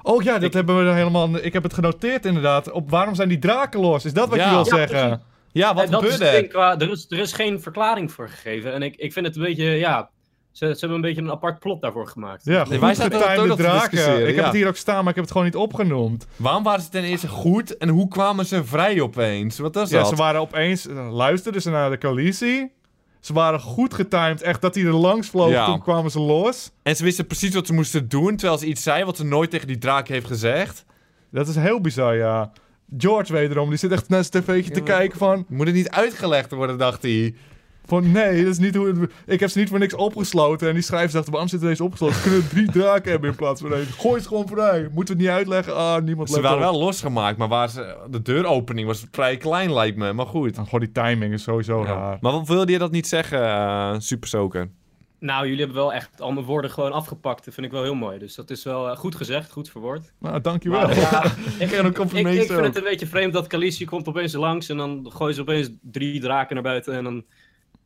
[SPEAKER 1] Oh ja, dat hebben we er helemaal... Ik heb het genoteerd inderdaad. Op waarom zijn die draken los? Is dat wat je
[SPEAKER 2] Ja.
[SPEAKER 1] wil
[SPEAKER 12] Ja,
[SPEAKER 1] zeggen?
[SPEAKER 12] precies.
[SPEAKER 2] Ja, wat
[SPEAKER 12] Eh, dat is
[SPEAKER 2] gebeurde
[SPEAKER 12] het
[SPEAKER 2] er?
[SPEAKER 12] ding qua, er, is, er is geen verklaring voor gegeven. En ik, ik vind het een beetje, ja... Ze, ze hebben een beetje een apart plot daarvoor gemaakt.
[SPEAKER 1] Ja,
[SPEAKER 2] Nee,
[SPEAKER 1] goed
[SPEAKER 2] wij zaten ook
[SPEAKER 1] getimede
[SPEAKER 2] dat te
[SPEAKER 1] draken.
[SPEAKER 2] discussiëren,
[SPEAKER 1] Ik heb
[SPEAKER 2] ja.
[SPEAKER 1] het hier ook staan, maar ik heb het gewoon niet opgenoemd.
[SPEAKER 2] Waarom waren ze ten eerste goed en hoe kwamen ze vrij opeens? Wat was
[SPEAKER 1] Ja,
[SPEAKER 2] dat?
[SPEAKER 1] ze waren opeens... eh, Luisterden ze naar de coalitie. Ze waren goed getimed. Echt dat hij er langs vloog,
[SPEAKER 2] Ja.
[SPEAKER 1] toen kwamen ze los.
[SPEAKER 2] En ze wisten precies wat ze moesten doen, terwijl ze iets zei wat ze nooit tegen die draak heeft gezegd.
[SPEAKER 1] Dat is heel bizar, ja. George wederom, die zit echt naar zijn tv'tje te
[SPEAKER 2] maar-
[SPEAKER 1] kijken van...
[SPEAKER 2] Moet het niet uitgelegd worden, dacht hij.
[SPEAKER 1] Van nee, dat is niet hoe het... Ik heb ze niet voor niks opgesloten. En die schrijver dacht, waarom zitten deze opgesloten? Ze kunnen drie draken hebben in plaats van één. Gooi ze gewoon vrij. Moeten we het niet uitleggen? Ah, niemand
[SPEAKER 2] Ze
[SPEAKER 1] let
[SPEAKER 2] waren
[SPEAKER 1] op.
[SPEAKER 2] wel losgemaakt, maar waar ze, de deuropening was vrij klein, lijkt me. Maar goed.
[SPEAKER 1] En Gewoon die timing is sowieso
[SPEAKER 2] Ja.
[SPEAKER 1] raar.
[SPEAKER 2] Maar wat wilde je dat niet zeggen, eh Super Soaker?
[SPEAKER 12] Nou, jullie hebben wel echt al mijn woorden gewoon afgepakt. Dat vind ik wel heel mooi. Dus dat is wel eh, goed gezegd, goed verwoord.
[SPEAKER 1] Nou, dankjewel.
[SPEAKER 12] Maar,
[SPEAKER 1] [LAUGHS]
[SPEAKER 12] ja, ik,
[SPEAKER 1] een
[SPEAKER 12] ik, ik
[SPEAKER 1] compliment
[SPEAKER 12] vind
[SPEAKER 1] ook.
[SPEAKER 12] het een beetje vreemd dat Khaleesi komt opeens langs en dan gooien ze opeens drie draken naar buiten en dan...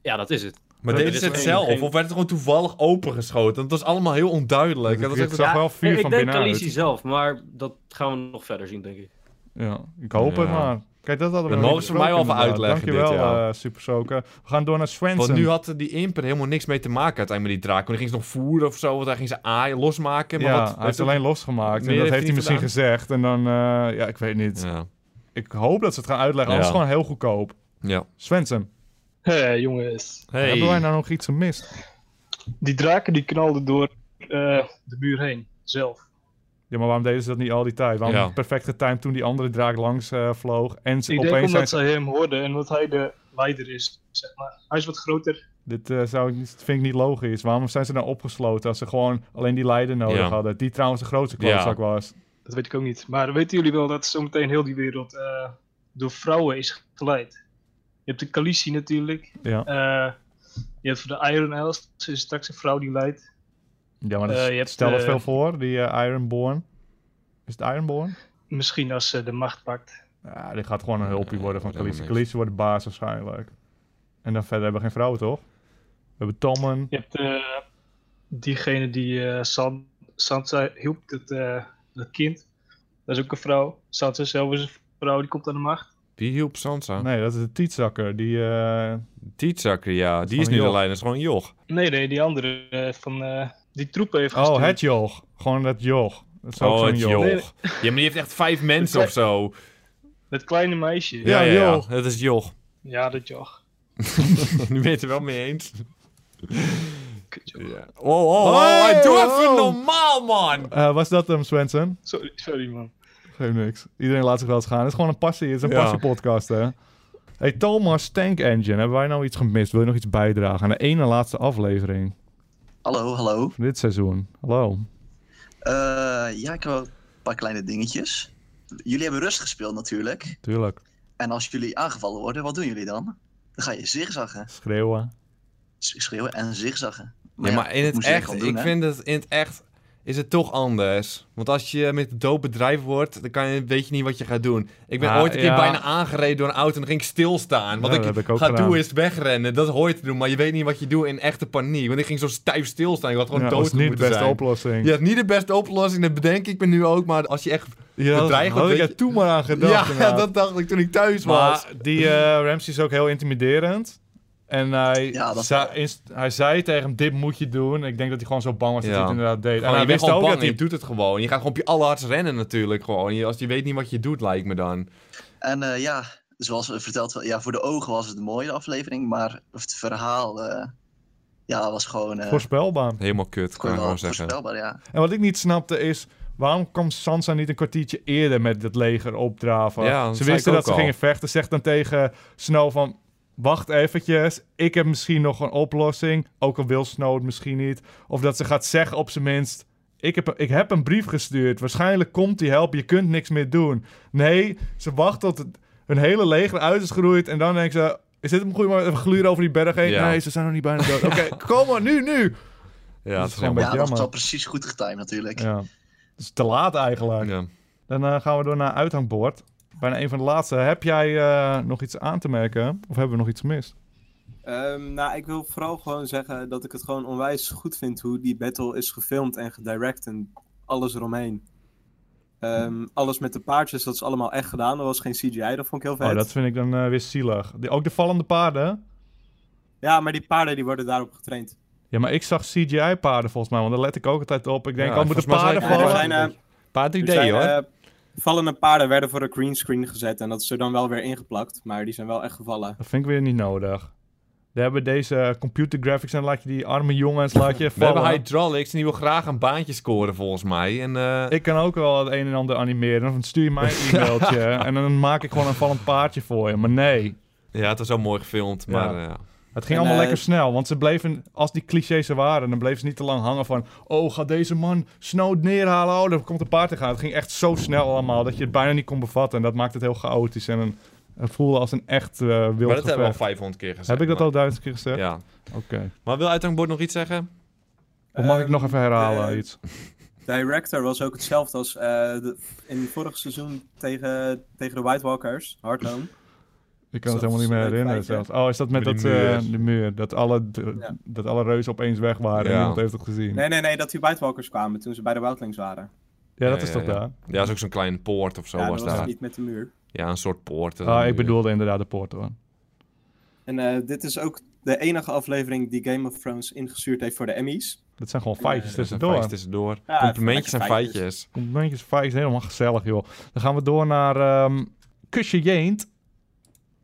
[SPEAKER 12] Ja, dat is het.
[SPEAKER 2] Maar
[SPEAKER 12] Er
[SPEAKER 2] deden
[SPEAKER 12] is
[SPEAKER 2] ze het
[SPEAKER 12] geen-
[SPEAKER 2] zelf?
[SPEAKER 12] geen-
[SPEAKER 2] Of werd het gewoon toevallig opengeschoten? Want het was allemaal heel onduidelijk. Dat was
[SPEAKER 1] Ik
[SPEAKER 2] echt
[SPEAKER 1] zag wel
[SPEAKER 12] Ik-
[SPEAKER 1] vier van
[SPEAKER 12] ik denk
[SPEAKER 1] binnenuit.
[SPEAKER 12] Khaleesi zelf, maar dat gaan we nog verder zien, denk ik.
[SPEAKER 1] Ja, ik hoop het
[SPEAKER 2] Ja.
[SPEAKER 1] maar. Kijk, dat hadden we
[SPEAKER 2] Dat
[SPEAKER 1] nog
[SPEAKER 2] mogen
[SPEAKER 1] niet
[SPEAKER 2] ze mij wel
[SPEAKER 1] besproken,
[SPEAKER 2] even
[SPEAKER 1] inderdaad.
[SPEAKER 2] uitleggen,
[SPEAKER 1] Dankjewel,
[SPEAKER 2] dit, ja.
[SPEAKER 1] eh, Super Soaker. We gaan door naar Swenson.
[SPEAKER 2] Want nu had die imper helemaal niks mee te maken uiteindelijk met die draak. Want die ging ze nog voeren of zo, want hij ging ze aaien, losmaken. Maar
[SPEAKER 1] ja,
[SPEAKER 2] wat,
[SPEAKER 1] hij heeft
[SPEAKER 2] wat-
[SPEAKER 1] alleen losgemaakt. En
[SPEAKER 2] Meer
[SPEAKER 1] dat
[SPEAKER 2] heeft
[SPEAKER 1] heeft
[SPEAKER 2] hij
[SPEAKER 1] hij
[SPEAKER 2] niet
[SPEAKER 1] misschien gezegd. En dan, eh, ja, ik weet niet.
[SPEAKER 2] Ja.
[SPEAKER 1] Ik hoop dat ze het gaan uitleggen. Anders
[SPEAKER 2] Ja.
[SPEAKER 1] is het gewoon heel goedkoop.
[SPEAKER 2] ja.
[SPEAKER 1] Swenson,
[SPEAKER 11] [LAUGHS] Hé, jongens.
[SPEAKER 2] Hey.
[SPEAKER 1] hebben wij nou nog iets gemist?
[SPEAKER 11] Die draken die knalden door eh, de muur heen, zelf.
[SPEAKER 1] Ja, maar waarom deden ze dat niet al die tijd? Waarom
[SPEAKER 2] Ja.
[SPEAKER 1] perfecte perfect getimed toen die andere draak langs eh, vloog? En ze,
[SPEAKER 11] Ik denk
[SPEAKER 1] opeens zijn
[SPEAKER 11] omdat
[SPEAKER 1] ze...
[SPEAKER 11] ze hem hoorden en dat hij de leider is, zeg maar. Hij is wat groter.
[SPEAKER 1] Dit eh, zou ik, niet- vind ik niet logisch. Waarom zijn ze nou opgesloten als ze gewoon alleen die leider nodig
[SPEAKER 2] Ja.
[SPEAKER 1] hadden? Die trouwens de grootste
[SPEAKER 2] Ja.
[SPEAKER 1] klootzak was.
[SPEAKER 11] Dat weet ik ook niet. Maar weten jullie wel dat zometeen heel die wereld eh, door vrouwen is geleid? Je hebt de Khaleesi natuurlijk.
[SPEAKER 1] Ja,
[SPEAKER 11] Eh, je hebt voor de Iron Isles is straks een vrouw die leidt.
[SPEAKER 1] ja maar dat
[SPEAKER 11] Eh, je hebt,
[SPEAKER 1] stel dat
[SPEAKER 11] eh,
[SPEAKER 1] veel voor, die eh, Ironborn. Is het Ironborn?
[SPEAKER 11] Misschien als ze de macht pakt.
[SPEAKER 1] Ja, die gaat gewoon een hulpje worden van
[SPEAKER 2] dat helemaal
[SPEAKER 1] Khaleesi.
[SPEAKER 2] niks.
[SPEAKER 1] Khaleesi wordt de baas waarschijnlijk. En dan verder hebben we geen vrouwen, toch? We hebben Tommen.
[SPEAKER 11] Je hebt eh, diegene die eh San- Sansa hielp, dat, eh, dat kind. Dat is ook een vrouw. Sansa zelf is een vrouw, die komt aan de macht.
[SPEAKER 2] Wie hielp Sansa?
[SPEAKER 1] Nee, dat is de Tietzakker. Die, eh,
[SPEAKER 2] Tietzakker, ja. Die
[SPEAKER 1] is
[SPEAKER 2] is
[SPEAKER 1] gewoon
[SPEAKER 2] nu de
[SPEAKER 1] een joch.
[SPEAKER 2] leider, dat is gewoon een joch.
[SPEAKER 11] Nee, nee, die andere eh, van eh, die troepen heeft
[SPEAKER 1] Oh,
[SPEAKER 11] gestuurd.
[SPEAKER 1] het joch. Gewoon dat joch. Dat is ook
[SPEAKER 2] oh,
[SPEAKER 1] zo'n
[SPEAKER 2] het
[SPEAKER 1] joch.
[SPEAKER 2] joch.
[SPEAKER 11] Nee.
[SPEAKER 2] Ja, maar die heeft echt vijf mensen of zo.
[SPEAKER 11] Dat kleine meisje.
[SPEAKER 1] Ja, joch.
[SPEAKER 2] Dat is joch.
[SPEAKER 11] Ja, dat joch.
[SPEAKER 2] [LAUGHS] nu ben je het er wel mee eens.
[SPEAKER 11] Kutjoch.
[SPEAKER 2] Ja. Oh, oh, oh, hij doet even normaal, man!
[SPEAKER 1] Eh, was dat hem, Swenson?
[SPEAKER 11] Sorry, sorry man.
[SPEAKER 1] Geef niks. Iedereen laat zich wel eens gaan. Het is gewoon een passie. Het is een
[SPEAKER 2] Ja.
[SPEAKER 1] passiepodcast, hè? Hey, Thomas Tank Engine. Hebben wij nou iets gemist? Wil je nog iets bijdragen aan de ene laatste aflevering
[SPEAKER 7] Hallo, hallo.
[SPEAKER 1] van dit seizoen? Hallo.
[SPEAKER 7] Eh, ja, ik heb wel een paar kleine dingetjes. Jullie hebben rust gespeeld natuurlijk.
[SPEAKER 1] Tuurlijk.
[SPEAKER 7] En als jullie aangevallen worden, wat doen jullie dan? Dan ga je zigzaggen.
[SPEAKER 1] Schreeuwen.
[SPEAKER 7] S- Schreeuwen en zigzaggen.
[SPEAKER 2] Nee, maar in
[SPEAKER 7] dat
[SPEAKER 2] het
[SPEAKER 7] moest je
[SPEAKER 2] echt,
[SPEAKER 7] al
[SPEAKER 2] ik
[SPEAKER 7] hè?
[SPEAKER 2] vind het in het echt. is het toch anders. Want als je met de dood bedrijven wordt, dan kan je, weet je niet wat je gaat doen. Ik ben
[SPEAKER 1] Ah,
[SPEAKER 2] ooit een keer
[SPEAKER 1] ja.
[SPEAKER 2] bijna aangereden door een auto en dan ging ik stilstaan. Wat
[SPEAKER 1] Ja,
[SPEAKER 2] ik,
[SPEAKER 1] dat heb ik ook
[SPEAKER 2] ga
[SPEAKER 1] gedaan.
[SPEAKER 2] doen is wegrennen. Dat hoor je te doen, maar je weet niet wat je doet in echte paniek. Want ik ging zo stijf stilstaan. Ik had gewoon
[SPEAKER 1] Ja,
[SPEAKER 2] dood
[SPEAKER 1] dat is niet de
[SPEAKER 2] moeten
[SPEAKER 1] beste
[SPEAKER 2] zijn.
[SPEAKER 1] oplossing.
[SPEAKER 2] Ja, het is niet de beste oplossing. Dat bedenk ik me nu ook. Maar als je echt
[SPEAKER 1] Ja, dat
[SPEAKER 2] bedreigd
[SPEAKER 1] had
[SPEAKER 2] wordt...
[SPEAKER 1] ik
[SPEAKER 2] weet
[SPEAKER 1] er toen maar aan
[SPEAKER 2] je-
[SPEAKER 1] gedacht.
[SPEAKER 2] Ja, [LAUGHS]
[SPEAKER 1] inderdaad.
[SPEAKER 2] dat dacht ik toen ik thuis was.
[SPEAKER 1] Maar die eh, Ramsey is ook heel intimiderend. En hij,
[SPEAKER 2] dat-
[SPEAKER 1] zei, inst- hij zei tegen hem, dit moet je doen. Ik denk dat hij gewoon zo bang was dat
[SPEAKER 2] Ja.
[SPEAKER 1] hij het inderdaad deed.
[SPEAKER 2] Gewoon,
[SPEAKER 1] en
[SPEAKER 2] je
[SPEAKER 1] hij
[SPEAKER 2] bent
[SPEAKER 1] wist
[SPEAKER 2] gewoon
[SPEAKER 1] ook
[SPEAKER 2] bang
[SPEAKER 1] dat hij...
[SPEAKER 2] en je doet het gewoon. Je gaat gewoon op je allerhardst rennen natuurlijk gewoon. Je, als je weet niet wat je doet, lijkt me dan.
[SPEAKER 13] En eh, ja, zoals we verteld, wel- ja, voor de ogen was het een mooie aflevering, maar het verhaal eh, ja, was gewoon eh,
[SPEAKER 1] Voorspelbaar.
[SPEAKER 2] Helemaal kut, kan
[SPEAKER 13] gewoon
[SPEAKER 2] ik
[SPEAKER 13] wel
[SPEAKER 2] gewoon zeggen.
[SPEAKER 13] voorspelbaar, ja.
[SPEAKER 1] En wat ik niet snapte is, waarom kwam Sansa niet een kwartiertje eerder met het leger opdraven?
[SPEAKER 2] Ja, dat
[SPEAKER 1] ze
[SPEAKER 2] zei
[SPEAKER 1] wisten
[SPEAKER 2] ik
[SPEAKER 1] dat
[SPEAKER 2] ook
[SPEAKER 1] ze
[SPEAKER 2] al.
[SPEAKER 1] gingen vechten. Zegt dan tegen Snow van, wacht eventjes, ik heb misschien nog een oplossing. Ook al wil Snow het misschien niet. Of dat ze gaat zeggen op zijn minst, ik heb, ik heb een brief gestuurd. Waarschijnlijk komt die helpen, je kunt niks meer doen. Nee, ze wacht tot het, hun hele leger uit is geroeid en dan denken ze... Is dit een goede moment? Even gluren over die berg heen.
[SPEAKER 2] Ja.
[SPEAKER 1] Nee, ze zijn nog niet bijna dood. Oké, [LAUGHS] kom maar, nu, nu!
[SPEAKER 2] Ja,
[SPEAKER 1] dat
[SPEAKER 2] het is
[SPEAKER 1] is gewoon een
[SPEAKER 2] helemaal-
[SPEAKER 1] beetje
[SPEAKER 13] Ja, dat was
[SPEAKER 1] jammer.
[SPEAKER 13] wel precies goed getimed natuurlijk.
[SPEAKER 1] Ja. Het is te laat eigenlijk. Dan eh, gaan we door naar uithangbord. Bijna een van de laatste. Heb jij eh, nog iets aan te merken? Of hebben we nog iets gemist?
[SPEAKER 14] Ehm, nou, ik wil vooral gewoon zeggen dat ik het gewoon onwijs goed vind hoe die battle is gefilmd en gedirect en alles eromheen. Ehm, alles met de paardjes, dat is allemaal echt gedaan. Er was geen CGI, dat vond ik heel vet.
[SPEAKER 1] Oh, dat vind ik dan eh, weer zielig. Die- ook de vallende paarden.
[SPEAKER 14] Ja, maar die paarden die worden daarop getraind.
[SPEAKER 1] Ja, maar ik zag CGI-paarden volgens mij, want daar let ik ook altijd op. Ik denk,
[SPEAKER 2] Ja,
[SPEAKER 1] oh, moeten
[SPEAKER 2] volgens mij
[SPEAKER 1] paarden
[SPEAKER 14] Ja,
[SPEAKER 1] vallen?
[SPEAKER 14] er zijn, eh,
[SPEAKER 2] Paard
[SPEAKER 14] er
[SPEAKER 2] 3D,
[SPEAKER 14] zijn,
[SPEAKER 2] hoor.
[SPEAKER 14] eh, vallende paarden werden voor een greenscreen gezet en dat is er dan wel weer ingeplakt, maar die zijn wel echt gevallen.
[SPEAKER 1] Dat vind ik weer niet nodig. We hebben deze eh, computer graphics en laat je die arme jongens laat je
[SPEAKER 2] We
[SPEAKER 1] vallen.
[SPEAKER 2] hebben Hydraulics en die wil graag een baantje scoren volgens mij. En, eh,
[SPEAKER 1] Ik kan ook wel het een en ander animeren. Dan stuur je mij een e-mailtje en dan maak ik gewoon een vallend paardje voor je. Maar nee.
[SPEAKER 2] Ja, het was wel mooi gefilmd,
[SPEAKER 1] Ja.
[SPEAKER 2] maar... eh, ja.
[SPEAKER 1] Het
[SPEAKER 2] En,
[SPEAKER 1] ging allemaal
[SPEAKER 2] eh,
[SPEAKER 1] lekker snel, want ze bleven, als die clichés er waren, dan bleven ze niet te lang hangen van, oh, gaat deze man Snow neerhalen, oh, dan komt een paard te gaan. Het ging echt zo snel allemaal, dat je het bijna niet kon bevatten. En dat maakte het heel chaotisch en een, het voelde als een echt eh wild
[SPEAKER 2] Maar dat hebben we al
[SPEAKER 1] gevecht.
[SPEAKER 2] 500 keer gezegd.
[SPEAKER 1] Heb ik dat
[SPEAKER 2] maar-
[SPEAKER 1] al duizend keer gezegd?
[SPEAKER 2] Ja.
[SPEAKER 1] Oké.
[SPEAKER 2] Maar wil Uithangbord nog iets zeggen?
[SPEAKER 1] Of mag ik nog even herhalen
[SPEAKER 14] eh,
[SPEAKER 1] iets?
[SPEAKER 14] Director was ook hetzelfde als eh, de- in vorig seizoen tegen, tegen de White Walkers, Hardhome.
[SPEAKER 1] Ik kan het helemaal niet meer herinneren zelfs. Oh, is dat met,
[SPEAKER 2] Met
[SPEAKER 1] dat,
[SPEAKER 2] die
[SPEAKER 1] eh,
[SPEAKER 2] muur.
[SPEAKER 1] de muur? Dat alle, d-
[SPEAKER 14] Ja.
[SPEAKER 1] dat alle reuzen opeens weg waren en
[SPEAKER 2] Ja.
[SPEAKER 1] niemand heeft het gezien.
[SPEAKER 14] Nee, nee, nee, dat die White Walkers kwamen toen ze bij de Wildlings waren.
[SPEAKER 1] Ja, dat is toch daar?
[SPEAKER 2] Ja, dat is ook zo'n kleine poort of zo
[SPEAKER 14] Ja, dat
[SPEAKER 2] was
[SPEAKER 14] was
[SPEAKER 2] daar.
[SPEAKER 14] niet met de muur.
[SPEAKER 2] Ja, een soort poort. eh,
[SPEAKER 1] Ah, ik
[SPEAKER 2] muur.
[SPEAKER 1] bedoelde inderdaad de poort hoor.
[SPEAKER 14] En eh, dit is ook de enige aflevering die Game of Thrones ingestuurd heeft voor de Emmys.
[SPEAKER 1] Dat zijn gewoon
[SPEAKER 14] Ja,
[SPEAKER 1] feitjes
[SPEAKER 14] ja,
[SPEAKER 2] dat zijn
[SPEAKER 1] tussendoor.
[SPEAKER 2] feitjes tussendoor.
[SPEAKER 14] Ja,
[SPEAKER 2] Complimentjes en
[SPEAKER 14] even lekker
[SPEAKER 2] feitjes.
[SPEAKER 14] feitjes.
[SPEAKER 1] Complimentjes, feitjes, helemaal gezellig joh. Dan gaan we door naar ehm, Kusje Jeent.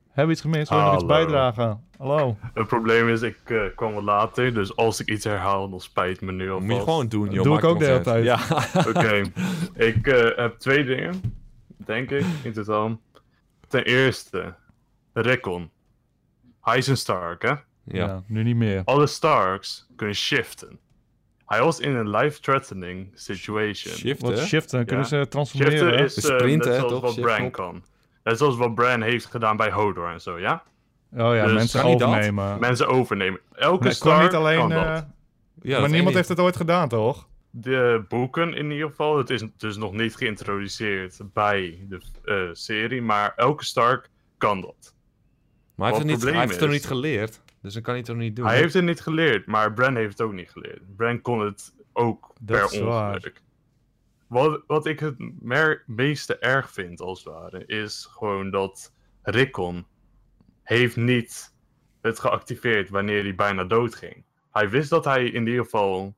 [SPEAKER 1] Hebben we iets gemist? Wil je nog iets
[SPEAKER 15] Hallo.
[SPEAKER 1] bijdragen? Hallo.
[SPEAKER 15] Het probleem is, ik eh, kwam wat later, dus als ik iets herhaal, dan spijt me nu al.
[SPEAKER 2] Moet je gewoon doen, joh.
[SPEAKER 1] Dat doe ik ook de hele tijd.
[SPEAKER 15] Ja.
[SPEAKER 2] [LAUGHS]
[SPEAKER 15] Oké, ik eh, heb twee dingen, denk ik, in totaal. Ten eerste, Recon. Hij is een Stark, hè?
[SPEAKER 1] Ja. nu niet meer.
[SPEAKER 15] Alle Starks kunnen shiften. Hij was in een life-threatening situation.
[SPEAKER 1] Shiften? Wat shiften? Kunnen ze transformeren?
[SPEAKER 15] Shiften is
[SPEAKER 1] Ze
[SPEAKER 15] eh,
[SPEAKER 1] sprinten,
[SPEAKER 15] net zoals
[SPEAKER 1] toch?
[SPEAKER 15] wat
[SPEAKER 1] Shift
[SPEAKER 15] Bran
[SPEAKER 1] op.
[SPEAKER 15] kan. Net zoals wat Bran heeft gedaan bij Hodor en zo, ja?
[SPEAKER 1] Oh ja, mensen
[SPEAKER 15] Kan hij dat?
[SPEAKER 1] overnemen.
[SPEAKER 15] Mensen overnemen. Elke
[SPEAKER 1] Nee,
[SPEAKER 15] Stark
[SPEAKER 1] kan niet alleen.
[SPEAKER 15] kan
[SPEAKER 1] eh,
[SPEAKER 15] dat.
[SPEAKER 1] maar niemand heeft het ooit gedaan, toch?
[SPEAKER 15] De boeken in ieder geval, het is dus nog niet geïntroduceerd bij de eh, serie, maar elke Stark kan dat.
[SPEAKER 2] Maar
[SPEAKER 15] Wat
[SPEAKER 2] hij heeft, het niet, hij
[SPEAKER 15] probleem
[SPEAKER 2] heeft het nog
[SPEAKER 15] is-
[SPEAKER 2] niet geleerd. Dus dan kan hij het nog niet doen.
[SPEAKER 15] Hij heeft het niet geleerd, maar Bran heeft het ook niet geleerd. Bran kon het ook
[SPEAKER 1] Dat
[SPEAKER 15] per
[SPEAKER 1] is waar.
[SPEAKER 15] ongeluk. Wat, wat ik het mer- meeste erg vind, als het ware, is gewoon dat Rickon heeft niet het geactiveerd wanneer hij bijna dood ging. Hij wist dat hij in ieder geval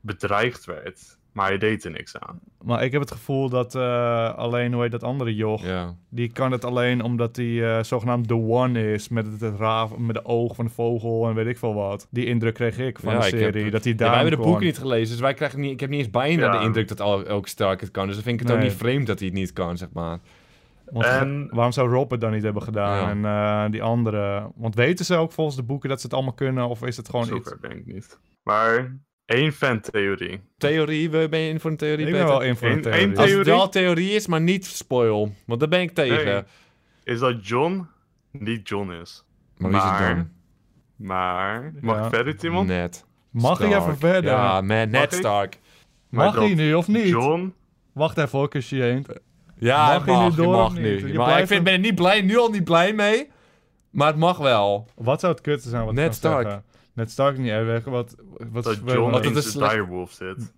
[SPEAKER 15] bedreigd werd, maar hij deed er niks aan.
[SPEAKER 1] Maar ik heb het gevoel dat eh, alleen, hoe heet dat andere joch? Die kan het alleen omdat hij eh, zogenaamd de one is. Met het, het raaf, met de oog van de vogel en weet ik veel wat. Die indruk kreeg ik van
[SPEAKER 2] Ja,
[SPEAKER 1] de
[SPEAKER 2] ik
[SPEAKER 1] serie.
[SPEAKER 2] heb-
[SPEAKER 1] dat hij
[SPEAKER 2] Ja,
[SPEAKER 1] daar.
[SPEAKER 2] wij hebben de boeken niet gelezen, dus wij krijgen niet, ik heb niet eens bijna
[SPEAKER 1] Ja.
[SPEAKER 2] de indruk dat al, elke Stark het kan. Dus dan vind ik het
[SPEAKER 1] Nee.
[SPEAKER 2] ook niet vreemd dat hij het niet kan, zeg maar.
[SPEAKER 1] Want
[SPEAKER 2] En-
[SPEAKER 1] waarom zou Rob het dan niet hebben gedaan? En eh, die andere. Want weten ze ook volgens de boeken dat ze het allemaal kunnen? Of is het gewoon iets?
[SPEAKER 15] Zover ben ik niet. Maar één fantheorie.
[SPEAKER 2] Theorie, waar ben je in voor een theorie?
[SPEAKER 1] Ik ben
[SPEAKER 2] Peter?
[SPEAKER 1] wel in voor eh, een Eén- één theorie.
[SPEAKER 2] Als het
[SPEAKER 15] theorie?
[SPEAKER 2] wel theorie is, maar niet spoil. Want daar ben ik tegen.
[SPEAKER 15] Nee, is dat John niet John is.
[SPEAKER 2] Maar wie is het dan?
[SPEAKER 15] Maar, mag
[SPEAKER 2] Ja.
[SPEAKER 15] ik verder, Timon?
[SPEAKER 2] Net.
[SPEAKER 1] Mag ik even verder?
[SPEAKER 2] Ja, man,
[SPEAKER 1] Mag
[SPEAKER 2] net
[SPEAKER 1] ik?
[SPEAKER 2] Stark.
[SPEAKER 15] Maar
[SPEAKER 1] Mag
[SPEAKER 15] dat
[SPEAKER 1] hij nu of niet?
[SPEAKER 15] John?
[SPEAKER 1] Wacht even hoor, kusje heen.
[SPEAKER 2] Ja,
[SPEAKER 1] mag
[SPEAKER 2] mag,
[SPEAKER 1] hij nu door
[SPEAKER 2] je
[SPEAKER 1] of
[SPEAKER 2] mag
[SPEAKER 1] niet?
[SPEAKER 2] nu.
[SPEAKER 1] Je
[SPEAKER 2] Je
[SPEAKER 1] blijft
[SPEAKER 2] mag, ik vind,
[SPEAKER 1] hem-
[SPEAKER 2] ben er niet blij, nu al niet blij mee, maar het mag wel.
[SPEAKER 1] Wat zou het kutte zijn wat ik
[SPEAKER 2] Net
[SPEAKER 1] kan
[SPEAKER 2] Stark.
[SPEAKER 1] zeggen? Net Stark niet uitwegen, wat... wat
[SPEAKER 15] dat
[SPEAKER 1] vervelend.
[SPEAKER 15] John in zijn direwolf zit.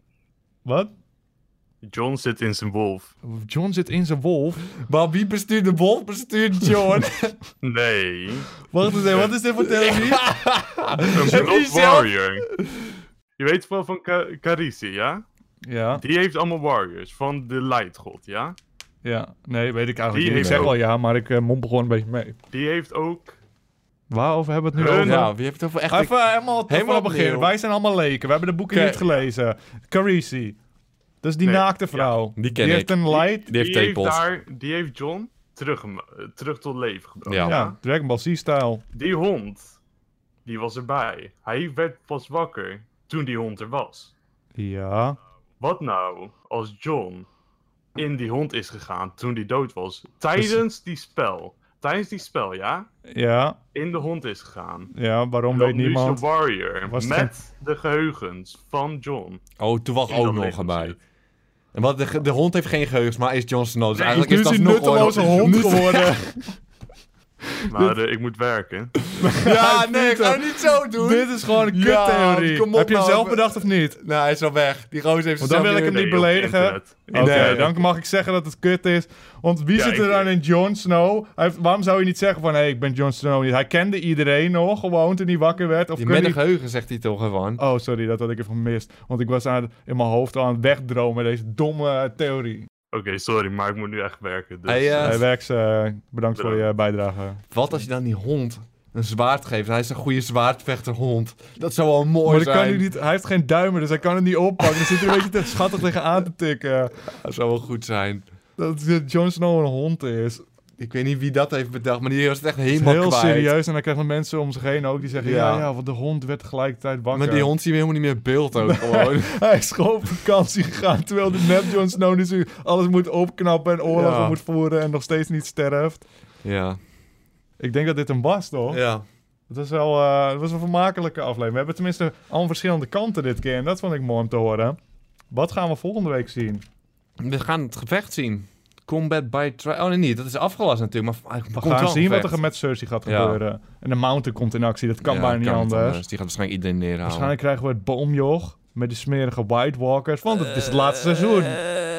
[SPEAKER 1] Wat?
[SPEAKER 15] John zit in zijn wolf.
[SPEAKER 1] John zit in zijn wolf.
[SPEAKER 2] Maar wie bestuurt de wolf? Bestuurt John.
[SPEAKER 15] Nee.
[SPEAKER 1] [LAUGHS] Wacht eens even, wat is dit voor
[SPEAKER 15] Een
[SPEAKER 2] [LAUGHS]
[SPEAKER 1] televisie? [LAUGHS] Heb je
[SPEAKER 15] Blood
[SPEAKER 1] zelf-
[SPEAKER 15] Warrior. Je weet wel van Ka Carisi, ja?
[SPEAKER 1] Ja.
[SPEAKER 15] Die heeft allemaal warriors van de Lightgod, ja?
[SPEAKER 1] Ja, nee, weet ik eigenlijk
[SPEAKER 15] Die
[SPEAKER 1] niet. Ik
[SPEAKER 15] heeft
[SPEAKER 1] zeg
[SPEAKER 15] ook-
[SPEAKER 1] wel ja, maar ik eh, mompel gewoon een beetje mee.
[SPEAKER 15] Die heeft ook...
[SPEAKER 1] Waarover hebben we het nu
[SPEAKER 15] Hun-
[SPEAKER 1] over?
[SPEAKER 15] Ja, wie heeft het over echt-
[SPEAKER 1] Even helemaal, helemaal
[SPEAKER 15] Helemaal
[SPEAKER 1] het begin.
[SPEAKER 15] opnieuw.
[SPEAKER 1] Wij zijn allemaal leken. We hebben de boeken
[SPEAKER 15] Oké.
[SPEAKER 1] niet gelezen. Carisi. Dat is die
[SPEAKER 15] Nee,
[SPEAKER 1] naakte vrouw.
[SPEAKER 2] die ken ik.
[SPEAKER 1] heeft een light.
[SPEAKER 15] daar- die heeft John terug, terug tot leven gebracht.
[SPEAKER 1] Ja. Dragon Ball Z-style.
[SPEAKER 15] Die hond, die was erbij. Hij werd pas wakker toen die hond er was.
[SPEAKER 1] Ja.
[SPEAKER 15] Wat nou als John in die hond is gegaan toen die dood was? Tijdens die spel. Tijdens die spel, ja?
[SPEAKER 1] Ja.
[SPEAKER 15] In de hond is gegaan.
[SPEAKER 1] Ja, waarom
[SPEAKER 15] Dan
[SPEAKER 1] weet
[SPEAKER 15] nu is
[SPEAKER 1] niemand.
[SPEAKER 15] de
[SPEAKER 1] [LAUGHS]
[SPEAKER 15] warrior
[SPEAKER 1] Was het
[SPEAKER 15] met de geheugens van John.
[SPEAKER 2] Oh, toen was
[SPEAKER 15] In
[SPEAKER 2] ook
[SPEAKER 15] dat
[SPEAKER 2] nog
[SPEAKER 15] leven
[SPEAKER 2] erbij. En wat, de, ge- de hond heeft geen geheugens, maar is Jon Snow. Dus
[SPEAKER 15] Nee,
[SPEAKER 2] eigenlijk
[SPEAKER 15] nu
[SPEAKER 2] is dat
[SPEAKER 15] is hij
[SPEAKER 2] nog
[SPEAKER 15] nutteloze
[SPEAKER 2] ooit-
[SPEAKER 15] hond
[SPEAKER 2] Nut- [LAUGHS]
[SPEAKER 15] geworden. Maar eh, ik moet werken.
[SPEAKER 2] ja, nee, ga het niet zo doen.
[SPEAKER 1] Dit is gewoon een kuttheorie.
[SPEAKER 2] Ja, kom op
[SPEAKER 1] Heb je hem
[SPEAKER 2] nou,
[SPEAKER 1] zelf
[SPEAKER 2] even.
[SPEAKER 1] bedacht of niet?
[SPEAKER 2] Nou, hij is al weg. Die gozer heeft
[SPEAKER 1] Want dan wil ik hem niet beledigen. Oké,
[SPEAKER 2] Nee.
[SPEAKER 1] dan mag ik zeggen dat het kut is. Want wie
[SPEAKER 15] Ja,
[SPEAKER 1] zit er
[SPEAKER 15] ik-
[SPEAKER 1] dan in Jon Snow? Hij heeft- waarom zou je niet zeggen van... Hé, ik ben Jon Snow niet. Hij kende iedereen nog, gewoon toen hij wakker werd. Of
[SPEAKER 2] Die
[SPEAKER 1] kun
[SPEAKER 2] met
[SPEAKER 1] je-
[SPEAKER 2] een geheugen zegt hij toch gewoon.
[SPEAKER 1] Oh, sorry, dat had ik even gemist. Want ik was aan, in mijn hoofd al aan het wegdromen, deze domme eh, theorie.
[SPEAKER 15] Oké, sorry, maar ik moet nu echt werken. Dus,
[SPEAKER 2] Hey, eh,
[SPEAKER 1] Hey, Wex, eh, bedankt voor je bijdrage.
[SPEAKER 2] Wat als je dan die hond een zwaard geeft? Hij is een goede zwaardvechterhond. Dat zou wel mooi
[SPEAKER 1] Maar dat
[SPEAKER 2] zijn.
[SPEAKER 1] kan hij, niet, hij heeft geen duimen, dus hij kan het niet oppakken. Dan zit hij een
[SPEAKER 2] [LAUGHS]
[SPEAKER 1] beetje te schattig tegen aan te tikken.
[SPEAKER 2] Dat zou wel goed zijn.
[SPEAKER 1] Dat eh, Jon Snow een hond is.
[SPEAKER 2] Ik weet niet wie dat heeft bedacht, maar die was het echt
[SPEAKER 1] Het is
[SPEAKER 2] helemaal
[SPEAKER 1] heel
[SPEAKER 2] kwijt.
[SPEAKER 1] serieus en dan krijgen mensen om zich heen ook die zeggen... Ja,
[SPEAKER 2] Ja.
[SPEAKER 1] ja, want de hond werd tegelijkertijd wakker.
[SPEAKER 2] Maar die hond zien we helemaal niet meer in beeld ook gewoon.
[SPEAKER 1] [LAUGHS] hij is gewoon op vakantie gegaan, terwijl de net Jon Snow dus nu alles moet opknappen en oorlogen
[SPEAKER 2] Ja.
[SPEAKER 1] moet voeren en nog steeds niet sterft.
[SPEAKER 2] ja.
[SPEAKER 1] Ik denk dat dit hem was, toch?
[SPEAKER 2] Ja.
[SPEAKER 1] Het was wel, eh, het was een vermakelijke aflevering. We hebben tenminste al verschillende kanten dit keer. En dat vond ik mooi om te horen. Wat gaan we volgende week zien?
[SPEAKER 2] We gaan het gevecht zien. Combat by trial. Oh nee, niet. Dat is afgelast natuurlijk. Maar er
[SPEAKER 1] We
[SPEAKER 2] komt wel
[SPEAKER 1] gaan
[SPEAKER 2] een
[SPEAKER 1] zien wat
[SPEAKER 2] gevecht.
[SPEAKER 1] er met Cersei gaat
[SPEAKER 2] Ja.
[SPEAKER 1] gebeuren. En de Mountain komt in actie. Dat kan
[SPEAKER 2] Ja,
[SPEAKER 1] bijna
[SPEAKER 2] dat
[SPEAKER 1] niet
[SPEAKER 2] kan
[SPEAKER 1] anders.
[SPEAKER 2] Die gaat waarschijnlijk iedereen neerhalen.
[SPEAKER 1] Waarschijnlijk krijgen we het boomjoch met de smerige White Walkers. Want het is het laatste seizoen.